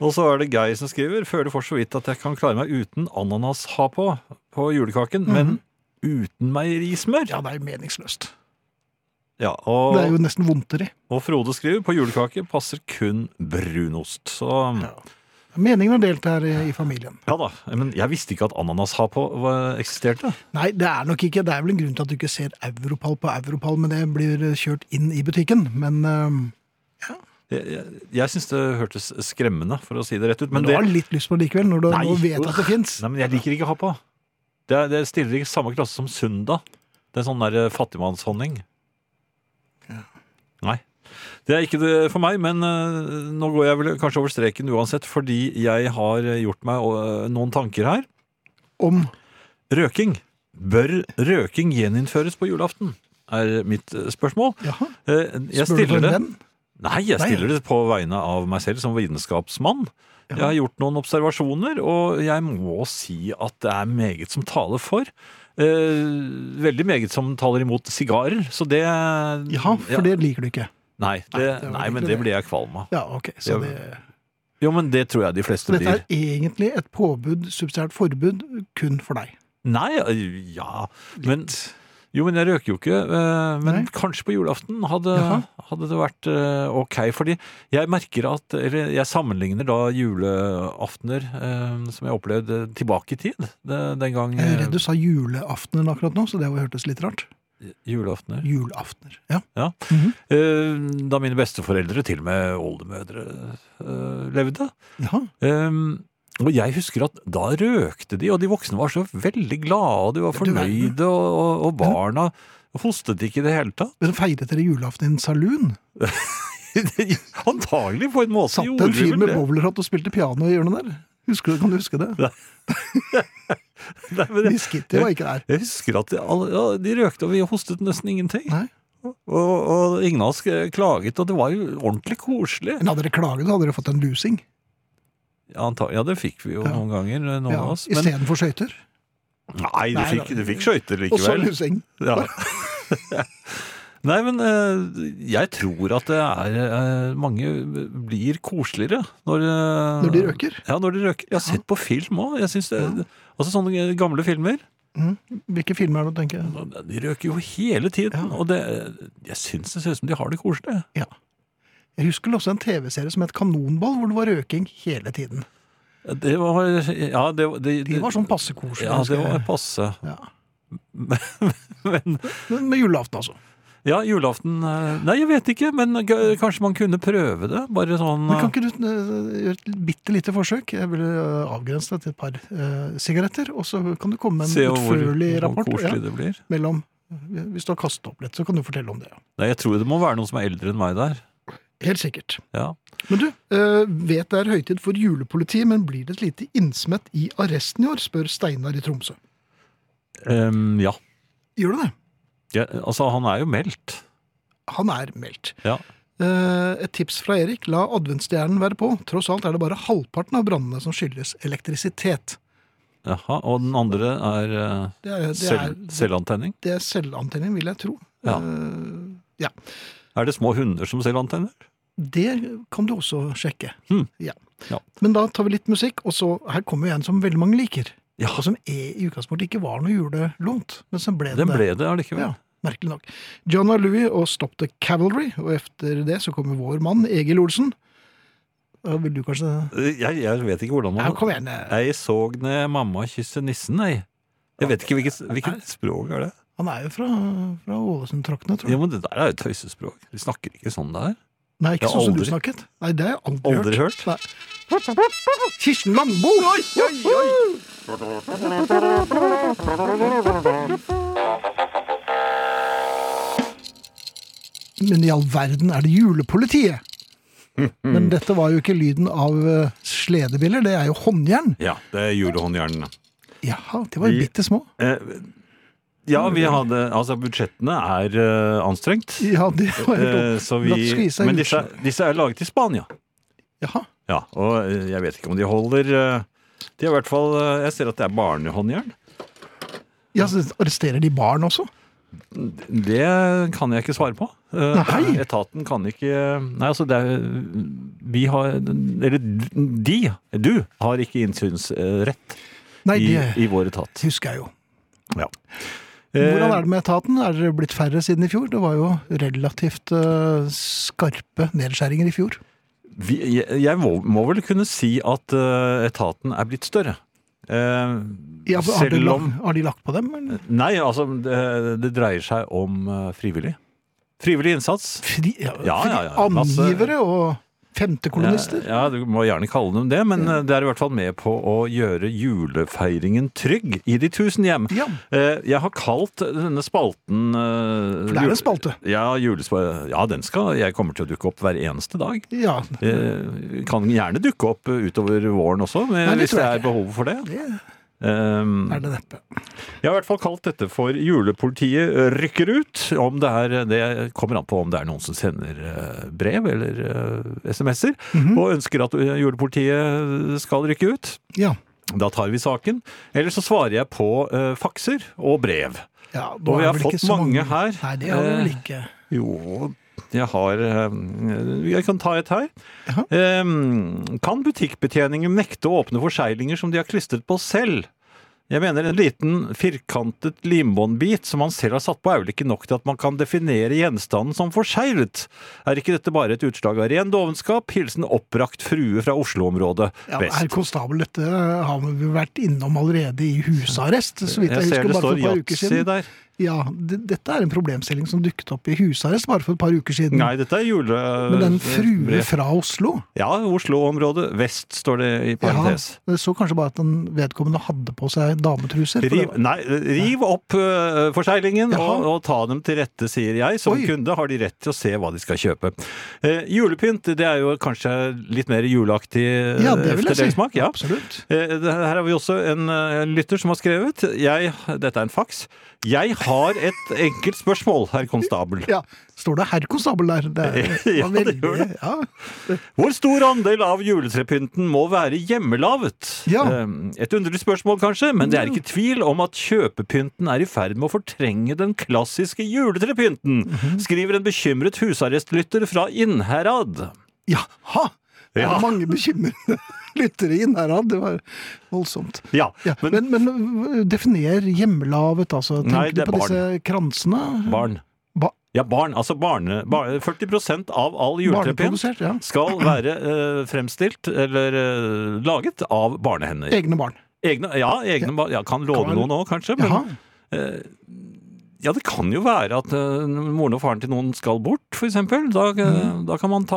S4: Og så er det Geir som skriver Føler for så vidt at jeg kan klare meg uten ananas ha på på julekaken, men uten meierismør.
S3: Mhm. ja, det er jo meningsløst.
S4: Ja,
S3: Det er
S4: og,
S3: jo nesten vondtere.
S4: og Frode skriver på julekake passer kun brunost. Så ja.
S3: Meningen er delt her i, i familien.
S4: da. Men jeg visste ikke at ananas ha på var- eksisterte.
S3: Nei, det er nok ikke. Det er vel en grunn til at du ikke ser Europall på Europall, men det blir eh, kjørt inn i butikken. Men eh,
S4: Jeg, jeg, jeg syns det hørtes skremmende, for å si det rett ut. Men
S3: du har
S4: det,
S3: litt lyst på det likevel, når du
S4: Nei.
S3: nå vet at det fins.
S4: nei, men jeg liker ikke ha på. Det, er- det stiller i samme klasse som søndag. Det er sånn der eh, fattigmannshonning. Nei. Det er ikke det for meg, men eh, nå går jeg vel kanskje over streken uansett, fordi jeg har gjort meg eh, noen tanker her.
S3: Om
S4: Røking. Bør røking gjeninnføres på julaften? Er mitt eh, spørsmål.
S3: Jaha.
S4: Eh,
S3: Spør du
S4: Jeg
S3: for
S4: stiller
S3: en
S4: det
S3: venn?
S4: Nei, jeg
S3: Nei.
S4: stiller det på vegne av meg selv som vitenskapsmann. Jeg har gjort noen observasjoner, og jeg må si at det er meget som taler for. Eh, veldig meget som taler imot sigarer, så det
S3: Ja, for
S4: Mm, Ja.
S3: det liker du ikke.
S4: Nei, det,
S3: Nei, det var
S4: nei,
S3: ikke
S4: men
S3: det.
S4: det blir jeg kvalm av.
S3: Ja, ok. Så
S4: Ja,
S3: det,
S4: Jo, men det tror jeg de fleste
S3: dette
S4: blir.
S3: er egentlig et påbud, subsidiært forbud, kun for deg.
S4: Nei, ja men, Jo, men jeg røker jo ikke. eh, Men
S3: Nei.
S4: kanskje på julaften hadde,
S3: Jaha.
S4: hadde det vært eh, ok. Fordi jeg merker at Eller jeg sammenligner da juleaftener eh, som jeg opplevde tilbake i tid. Det, den gang
S3: Jeg er
S4: eh,
S3: redd du sa julaftener akkurat nå, så det hørtes litt rart.
S4: julaftener.
S3: Julaftener, ja.
S4: Eh, Da mine besteforeldre, til og med oldemødre, eh, levde.
S3: Jaha.
S4: Ehm, og jeg husker at da røkte de, og de voksne var så veldig glade, og de var
S3: Du verden.
S4: fornøyde, og, og- og barna hostet ikke i det hele tatt.
S3: Men feiret dere julaften i en saloon?
S4: Antagelig på en måte
S3: Satt
S4: gjorde
S3: en
S4: de
S3: fyr
S4: vel
S3: med
S4: det.
S3: bowlerhatt og spilte piano i hjørnet der? Husker du, kan du huske det?
S4: Nei, men jeg,
S3: Miss Kitty var ikke der.
S4: jeg husker at de, alle, ja, de røkte, og vi hostet nesten ingenting.
S3: Nei.
S4: Og, og ingen av oss klaget, og det var jo ordentlig koselig.
S3: Men hadde dere klaget, så hadde dere fått en lusing.
S4: Ja, antag- ja, det fikk vi jo
S3: Ja.
S4: noen ganger, noen
S3: Ja,
S4: av oss. Men,
S3: Istedenfor skøyter.
S4: nei, du
S3: Nei,
S4: fikk,
S3: da.
S4: du fikk skøyter
S3: Og så
S4: likevel.
S3: lusing.
S4: Ja. Nei, men eh, jeg tror at det er eh, Mange blir koseligere når eh,
S3: Når de røker?
S4: Ja, når de røker. Jeg har sett på film òg. Altså sånne gamle filmer.
S3: Mhm. Hvilke filmer er det du tenker?
S4: De røker jo hele tiden. Og det, jeg syns det ser ut som de har det koselig.
S3: Ja. Jeg husker også en TV-serie som het Kanonball, hvor det var røking hele tiden.
S4: Det var Ja, det, det,
S3: De var sånn passe koselige.
S4: Ja, det
S3: husker
S4: var
S3: jeg.
S4: passe.
S3: Ja.
S4: Men
S3: Men Med julaften, altså.
S4: Ja, julaften eh, Nei, jeg vet ikke, men g- kanskje man kunne prøve det? Bare sånn
S3: Men kan
S4: eh,
S3: ikke du eh, gjøre et bitte lite forsøk? Jeg vil eh, avgrense det til et par eh, sigaretter, og så kan du komme med
S4: eh, se
S3: en
S4: hvor,
S3: utførlig
S4: hvor
S3: rapport.
S4: koselig
S3: Ja,
S4: det blir.
S3: mellom, hvis du har kastet opp litt, så kan du fortelle om det. Ja.
S4: Nei, jeg tror det må være noen som er eldre enn meg der.
S3: Helt sikkert.
S4: Ja.
S3: Men du, eh, vet det er høytid for julepoliti, men blir det et lite innsmett i arresten i år, spør Steinar i Tromsø.
S4: Em, ja.
S3: Gjør du det?
S4: ja. Altså, han er jo meldt.
S3: Han er meldt.
S4: Ja.
S3: Eh, Et tips fra Erik, la adventsstjernen være på. Tross alt er det bare halvparten av brannene som skyldes elektrisitet.
S4: Jaha, og den andre er, eh,
S3: Det er, det er,
S4: selv, selvantenning?
S3: det er selvantenning, vil jeg tro.
S4: Ja.
S3: Eh,
S4: Er det små hunder som selvantenner?
S3: Det kan du også sjekke.
S4: Hmm.
S3: Ja.
S4: Ja.
S3: Men da tar vi litt musikk, og så her kommer jo en som veldig mange liker.
S4: Ja,
S3: Og som er, i utgangspunktet ikke var noe julelånt, men som ble
S4: den
S3: det.
S4: ble det allikevel.
S3: Ja, merkelig nok. John R. Louis og Stop the Cavalry, og etter det så kommer vår mann Egil Olsen. Da vil du kanskje
S4: Eh, Jeg, jeg vet ikke hvordan
S3: Ja,
S4: man
S3: kom igjen. eh,
S4: Jeg så ned mamma kysse nissen, nei. Jeg vet ikke hvilket, hvilket språk er det.
S3: Han er jo fra, fra Ålesund-traktene, tror jeg.
S4: Ja, men det der er jo tøysespråk. Vi snakker ikke sånn der.
S3: Nei, ikke
S4: Jeg har
S3: sånn som du
S4: aldri-
S3: snakket. Nei, det har jeg aldri,
S4: Aldri hørt.
S3: Nei. Kirsten Landbo! Oi, oi, oi! Men i all verden er det julepolitiet! Men dette var jo ikke lyden av eh, sledebiller, det er jo håndjern.
S4: Ja, det er julehåndjernene.
S3: Jaha, de var jo
S4: Vi-
S3: bitte små.
S4: Eh, ja, vi hadde Altså, budsjettene er eh, anstrengt.
S3: Ja, det var jo
S4: Eh, så vi,
S3: La oss skvise
S4: men disse,
S3: ut.
S4: disse er laget i Spania.
S3: Jaha.
S4: Ja, og eh, jeg vet ikke om de holder eh, De er i hvert fall eh, Jeg ser at det er barnehåndjern.
S3: Ja, så arresterer de barn også?
S4: Det kan jeg ikke svare på. Eh,
S3: Nei.
S4: Etaten kan ikke Nei, altså, det er Vi har Eller de, du, har ikke innsynsrett
S3: Nei,
S4: i,
S3: det
S4: i vår etat.
S3: husker jeg jo.
S4: Eh,
S3: Hvordan er det med etaten? Er det blitt færre siden i fjor? Det var jo relativt eh, skarpe nedskjæringer i fjor.
S4: Vi, jeg jeg må, må vel kunne si at eh, etaten er blitt større. Eh,
S3: Ja, for har, de
S4: Selv
S3: lagt,
S4: om-
S3: har de lagt på dem? eller?
S4: nei, altså det, det dreier seg om eh, frivillig. Frivillig innsats.
S3: Fri, ja,
S4: Ja,
S3: fri,
S4: ja, ja, masse-
S3: Angivere og femtekolonister?
S4: Ja, ja, du må gjerne kalle dem det, men eh, det er i hvert fall med på å gjøre julefeiringen trygg i de tusen hjem.
S3: Ja.
S4: Eh, Jeg har kalt denne spalten eh,
S3: For det er en
S4: jule-
S3: spalte.
S4: Ja, julespa- ja, den skal Jeg kommer til å dukke opp hver eneste dag.
S3: ja.
S4: Eh, Kan gjerne dukke opp eh, utover våren også, men
S3: Nei, det
S4: hvis
S3: tror
S4: det
S3: jeg
S4: er behov for det.
S3: Det
S4: Um,
S3: er det neppe.
S4: Jeg har i hvert fall kalt dette for Julepolitiet eh, rykker ut. Om det, er, eh, det kommer an på om det er noen som sender eh, brev eller eh, SMS-er og ønsker at eh, julepolitiet eh, skal rykke ut.
S3: Ja.
S4: Da tar vi saken. Eller så svarer jeg på eh, fakser og brev.
S3: ja nå
S4: Og vi
S3: er
S4: har
S3: vel
S4: fått
S3: ikke så
S4: mange her.
S3: Nei, det har vi vel
S4: Eh,
S3: ikke.
S4: Jo, jeg har eh, Jeg kan ta et her.
S3: Jaha.
S4: Eh, Kan butikkbetjeningen nekte å åpne forseglinger som de har klistret på selv? Jeg mener en liten firkantet limbåndbit som man selv har satt på, er vel ikke nok til at man kan definere gjenstanden som forseglet? Er ikke dette bare et utslag av ren dovenskap? Hilsen oppbrakt frue fra Oslo-området
S3: Ja, herr
S4: vest.
S3: konstabel, dette har vi vært innom allerede i husarrest, så vidt jeg,
S4: Jeg ser
S3: husker, bare
S4: det
S3: for
S4: står
S3: et par uker
S4: yatzy
S3: siden.
S4: der.
S3: Ja, det, dette er en problemstilling som dukket opp i husarrest bare for et par uker siden.
S4: Nei, dette er jule...
S3: Men den frue
S4: brev.
S3: fra Oslo
S4: Ja, Oslo-området vest står det i parentes.
S3: Ja, jeg så kanskje bare at den vedkommende hadde på seg dametruser. for det
S4: Riv,
S3: var-
S4: nei, riv opp øh, forseglingen
S3: Jaha.
S4: og, og ta dem til rette, sier jeg. Som
S3: Oi.
S4: kunde har de rett til å se hva de skal kjøpe. Eh, julepynt det er jo kanskje litt mer juleaktig eh,
S3: ja, det vil jeg
S4: etter
S3: si.
S4: deres smak. Ja.
S3: Absolutt.
S4: Eh, det- Her har vi også en eh, en lytter som har skrevet. Jeg, dette er en faks. Jeg har et enkelt spørsmål, herr konstabel.
S3: Ja, Står det herr konstabel der? Det er,
S4: Ja,
S3: var
S4: det
S3: veldig-
S4: gjør det.
S3: Ja.
S4: Hvor stor andel av juletrepynten må være hjemmelavet?
S3: Ja.
S4: Eh, Et underlig spørsmål kanskje, men det er ikke tvil om at kjøpepynten er i ferd med å fortrenge den klassiske juletrepynten,
S3: Mhm.
S4: skriver en bekymret husarrestlytter fra Innherad.
S3: Jaha! Det
S4: Ja.
S3: er mange bekymrede lyttere inn her, ja. det var voldsomt.
S4: Ja,
S3: Ja,
S4: men,
S3: men, men definer hjemmelavet, altså. Tenker
S4: Nei,
S3: du
S4: det er
S3: på disse kransene?
S4: barn.
S3: Ba
S4: Ja, barn. Altså barne... Bar, 40 av all juletrepynt
S3: Barneprodusert, ja.
S4: skal være eh, fremstilt eller eh, laget av barnehender.
S3: Egne barn.
S4: Egne, ja, egne barn. Ja, kan låne
S3: Kan-
S4: noen òg, kanskje. Men,
S3: Jaha.
S4: Eh, Ja, det kan jo være at eh, moren og faren til noen skal bort, f.eks. Da, eh,
S3: Mhm.
S4: da kan man ta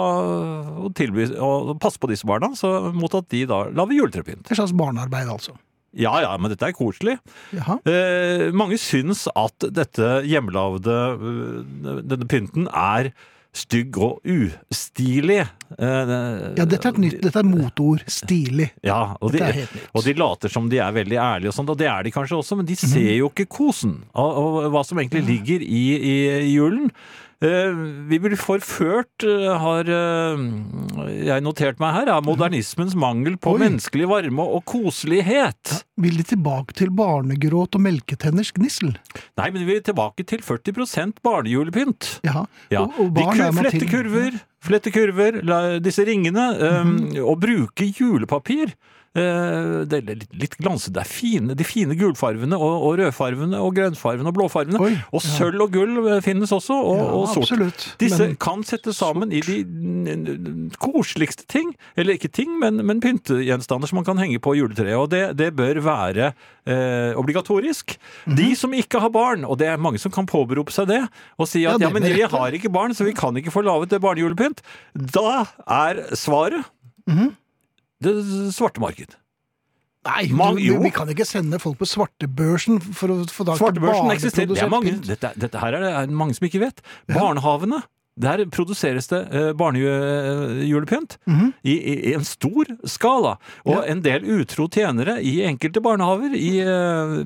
S4: og tilby og passe på disse barna, så mot at de da lager juletrepynt.
S3: Et slags barnearbeid, altså.
S4: Ja ja, men dette er koselig.
S3: Jaha.
S4: Eh, mange syns at dette hjemmelagde eh, denne pynten er stygg og ustilig. Eh,
S3: Ja, dette er et nytt, dette er motord. Stilig.
S4: Ja, og de,
S3: Dette er helt nytt. Mhm.
S4: og de later som de er veldig ærlige, og sånt, og det er de kanskje også, men de ser jo ikke kosen og, og hva som egentlig ligger i, i, i julen. Eh, vi blir forført, eh, har eh, jeg notert meg her, av modernismens mangel på
S3: Oi.
S4: menneskelig varme og koselighet.
S3: Vil de tilbake til barnegråt og melketenners gnissel?
S4: Nei, men vi er tilbake til 40 barnejulepynt.
S3: Ja.
S4: Ja.
S3: Og, og
S4: de
S3: barn
S4: ku-
S3: er man
S4: flette
S3: til-
S4: kurver, flette kurver, la, disse ringene, um,
S3: Mhm.
S4: og bruke julepapir. Eh, det er litt, litt glanse, det er fine, de fine gulfarvene og, og rødfarvene og grønnfarvene og blåfarvene.
S3: Oi,
S4: og sølv og gull eh, finnes også, og,
S3: Ja,
S4: og sort.
S3: absolutt.
S4: Disse
S3: Men
S4: kan settes sammen i de n- n- koseligste ting, eller ikke ting, men, men pyntegjenstander som man kan henge på juletreet, og det, det bør være eh, obligatorisk.
S3: Mhm.
S4: De som ikke har barn, og det er mange som kan påberope seg det, og si
S3: Ja,
S4: at
S3: det
S4: ja, men
S3: med
S4: vi
S3: rette.
S4: har ikke barn, så vi kan ikke få laget det barnejulepynt, da er svaret det svarte marked.
S3: Mhm. Nei,
S4: Mang-
S3: du, vi,
S4: jo.
S3: vi kan ikke sende folk på svartebørsen for å få tak i
S4: Svartebørsen eksisterer. Det er
S3: barneprodusert
S4: mange,
S3: pynt.
S4: dette, dette her er det er mange som ikke vet. Barnehavene. Der produseres det eh, barnejulepynt
S3: Mhm.
S4: i, i, i en stor skala. Og en del utro tjenere i enkelte barnehaver, i, eh,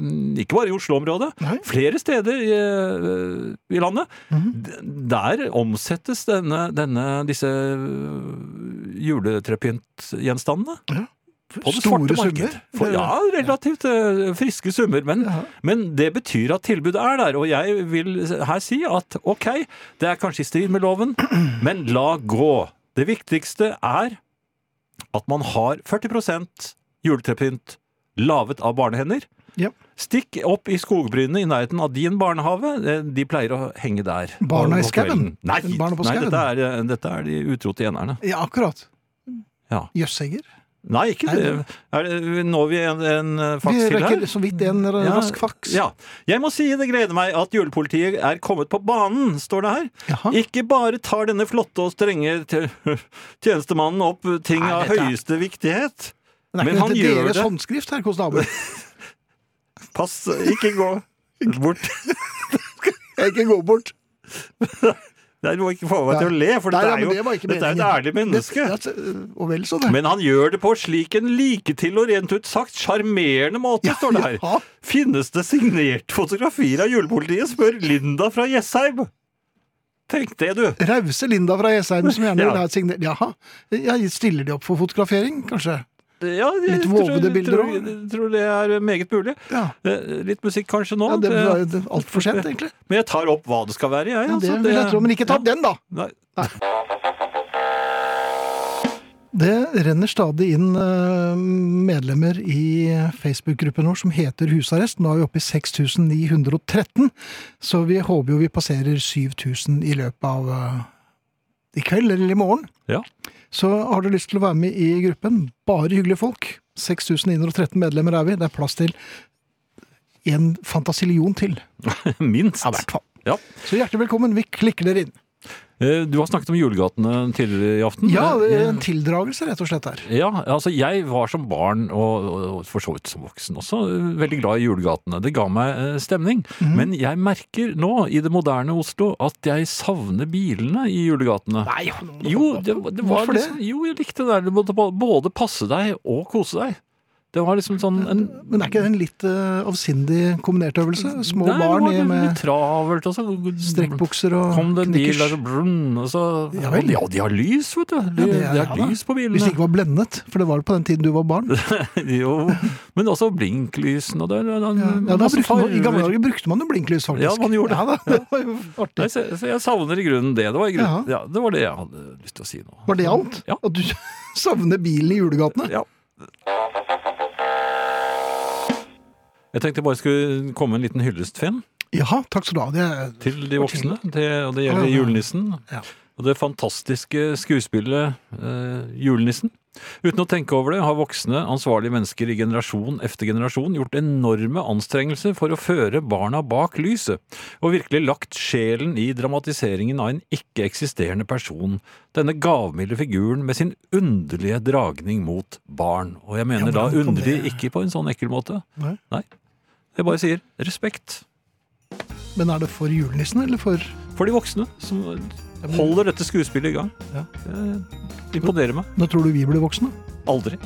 S4: ikke bare i Oslo-området,
S3: Nei.
S4: flere steder i, eh, i landet,
S3: Mhm.
S4: d- der omsettes denne, denne, disse juletrepyntgjenstandene. På det
S3: Store
S4: svarte marked.
S3: summer.
S4: For, ja, relativt eh, friske summer. Men, men det betyr at tilbudet er der. Og jeg vil her si at ok, det er kanskje i strid med loven, men la gå. Det viktigste er at man har 40 juletrepynt laget av barnehender.
S3: Ja.
S4: Stikk opp i skogbrynene i nærheten av din barnehave. Eh, De pleier å henge der.
S3: Barna i
S4: på
S3: skauen?
S4: kvelden. Nei,
S3: Barna på
S4: nei
S3: skauen?
S4: dette, er, eh, dette er de utro tjenerne.
S3: Ja, akkurat.
S4: Ja.
S3: Jøssenger.
S4: Nei, ikke det. Er det når vi en, en eh,
S3: Vi
S4: faks til her?
S3: rekker så vidt en ra-
S4: Ja,
S3: rask faks.
S4: Ja. Jeg må si det gleder meg at julepolitiet er kommet på banen, står det her.
S3: Jaha.
S4: Ikke bare tar denne flotte og strenge t- tjenestemannen opp ting
S3: Nei,
S4: av
S3: dette er-
S4: høyeste viktighet.
S3: Det er
S4: Men
S3: ikke
S4: han
S3: til
S4: gjør
S3: deres
S4: det.
S3: håndskrift her, konstabel.
S4: Pass, ikke gå bort.
S3: Ikke gå bort.
S4: Nei, du må ikke få meg til å le, for
S3: Nei, ja,
S4: dette er
S3: men
S4: jo
S3: det var ikke
S4: dette er et
S3: meningen.
S4: ærlig menneske.
S3: Dette- dette- øh, og vel så det.
S4: Men han gjør det på slik en liketil og rent ut sagt sjarmerende måte,
S3: Ja,
S4: står det her.
S3: ja.
S4: Finnes det signerte fotografier av julepolitiet, spør Linda fra Jessheim. Tenk det, du.
S3: Rause Linda fra Jessheim som gjerne
S4: Ja.
S3: vil ha et signert Jaha. Ja, stiller de opp for fotografering, kanskje?
S4: Ja, jeg
S3: Litt
S4: tror-
S3: vovede bilder
S4: tror-
S3: også.
S4: Tror det er meget mulig.
S3: Ja.
S4: Eh, Litt musikk kanskje nå.
S3: ja det var
S4: det-
S3: jo altfor sent, egentlig.
S4: Men jeg tar opp hva det skal være, jeg.
S3: Ja, det
S4: altså.
S3: vil jeg tro. Men ikke ta
S4: Ja.
S3: den, da!
S4: Nei.
S3: Det renner stadig inn eh, medlemmer i Facebook-gruppen vår som heter Husarrest. Nå er vi oppe i 6913, så vi håper jo vi passerer 7000 i løpet av eh, i kveld eller i morgen.
S4: Ja.
S3: Så har du lyst til å være med i gruppen, bare hyggelige folk. 6913 medlemmer er vi. Det er plass til en fantasillion til.
S4: Minst.
S3: Ja, i hvert fall.
S4: Ja.
S3: Så hjertelig velkommen. Vi klikker dere inn.
S4: Eh, Du har snakket om julegatene tidligere i aften.
S3: Ja, det er
S4: Eh,
S3: en tildragelse, rett og slett, her.
S4: Ja, altså jeg var som barn, og, og for så vidt som voksen også, veldig glad i julegatene. Det ga meg eh, stemning.
S3: Mhm.
S4: Men jeg merker nå, i det moderne Oslo, at jeg savner bilene i julegatene.
S3: Nei,
S4: Jo, det, det var
S3: Hvorfor
S4: liksom, jo, jeg likte det der. Du måtte ba- både passe deg og kose deg. Det var liksom sånn en,
S3: Men er ikke det en litt eh, avsindig kombinert øvelse? Små
S4: Nei,
S3: barn i
S4: det var litt
S3: med
S4: travelt, og så
S3: strekkbukser og
S4: kom det en bil
S3: knickers.
S4: der, og brunn, og så
S3: Ja vel.
S4: Ja, de har lys, vet du.
S3: Ja,
S4: De,
S3: det
S4: det
S3: er-
S4: er,
S3: ja da.
S4: lys på
S3: Hvis det
S4: bilene.
S3: ikke var blendet, for det var det på den tiden du var barn.
S4: jo, men også blinklysene, og det er
S3: Ja,
S4: en
S3: da
S4: masse
S3: brukte man, I gamle
S4: farger.
S3: dager brukte man jo blinklys, faktisk.
S4: Ja, man gjorde det.
S3: Ja, da, det var jo
S4: Nei,
S3: artig.
S4: så, så jeg savner i grunnen det. Det var, i grunnen,
S3: Jaha.
S4: ja, det var det jeg hadde lyst til å si nå.
S3: Var det alt?
S4: Ja.
S3: At du savner bilen i julegatene?
S4: Ja. Jeg tenkte jeg bare skulle komme en liten hyllest, Finn.
S3: Jaha, takk skal du ha. Det er
S4: til de voksne. Det, og det gjelder
S3: Ja, ja.
S4: julenissen.
S3: Ja.
S4: Og det fantastiske skuespillet eh, Julenissen. Uten å tenke over det har voksne, ansvarlige mennesker i generasjon efter generasjon gjort enorme anstrengelser for å føre barna bak lyset, og virkelig lagt sjelen i dramatiseringen av en ikke-eksisterende person, denne gavmilde figuren med sin underlige dragning mot barn. Og jeg
S3: Ja,
S4: mener
S3: men
S4: da
S3: hvordan kan
S4: underlig
S3: det-
S4: ikke på en sånn ekkel måte.
S3: Nei.
S4: Nei. Jeg bare sier respekt
S3: Men er det for julenissen, eller for
S4: for de voksne som holder dette skuespillet i gang.
S3: Ja.
S4: Det imponerer meg.
S3: Når tror du vi blir voksne?
S4: Aldri.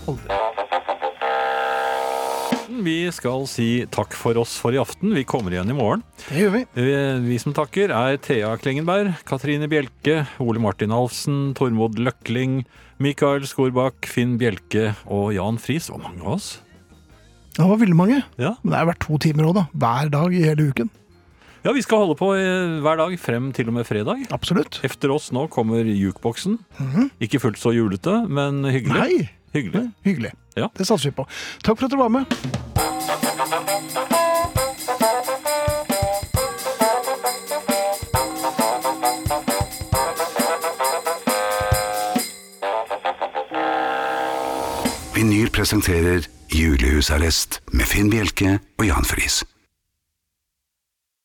S4: Vi skal si takk for oss for i aften. Vi kommer igjen i morgen.
S3: Det gjør vi.
S4: Vi vi som takker, er Thea Klingenberg, Katrine Bjelke, Ole Martin Alfsen, Tormod Løkling, Mikael Skorbakk, Finn Bjelke og Jan Friis. Det var mange av oss.
S3: Det var veldig mange.
S4: Ja.
S3: Men det er hvert to timer òg, da. Hver dag i hele uken.
S4: ja, vi skal holde på eh, hver dag frem til og med fredag.
S3: Absolutt.
S4: Efter oss nå kommer jukeboksen. Ikke fullt så julete, men hyggelig.
S3: Mhm. Nei!
S4: Hyggelig.
S3: Hyggelig.
S4: Ja.
S3: Det satser vi på. Takk for at dere var med.
S1: Vinyl presenterer Julehusarrest med Finn Bjelke og Jan Friis.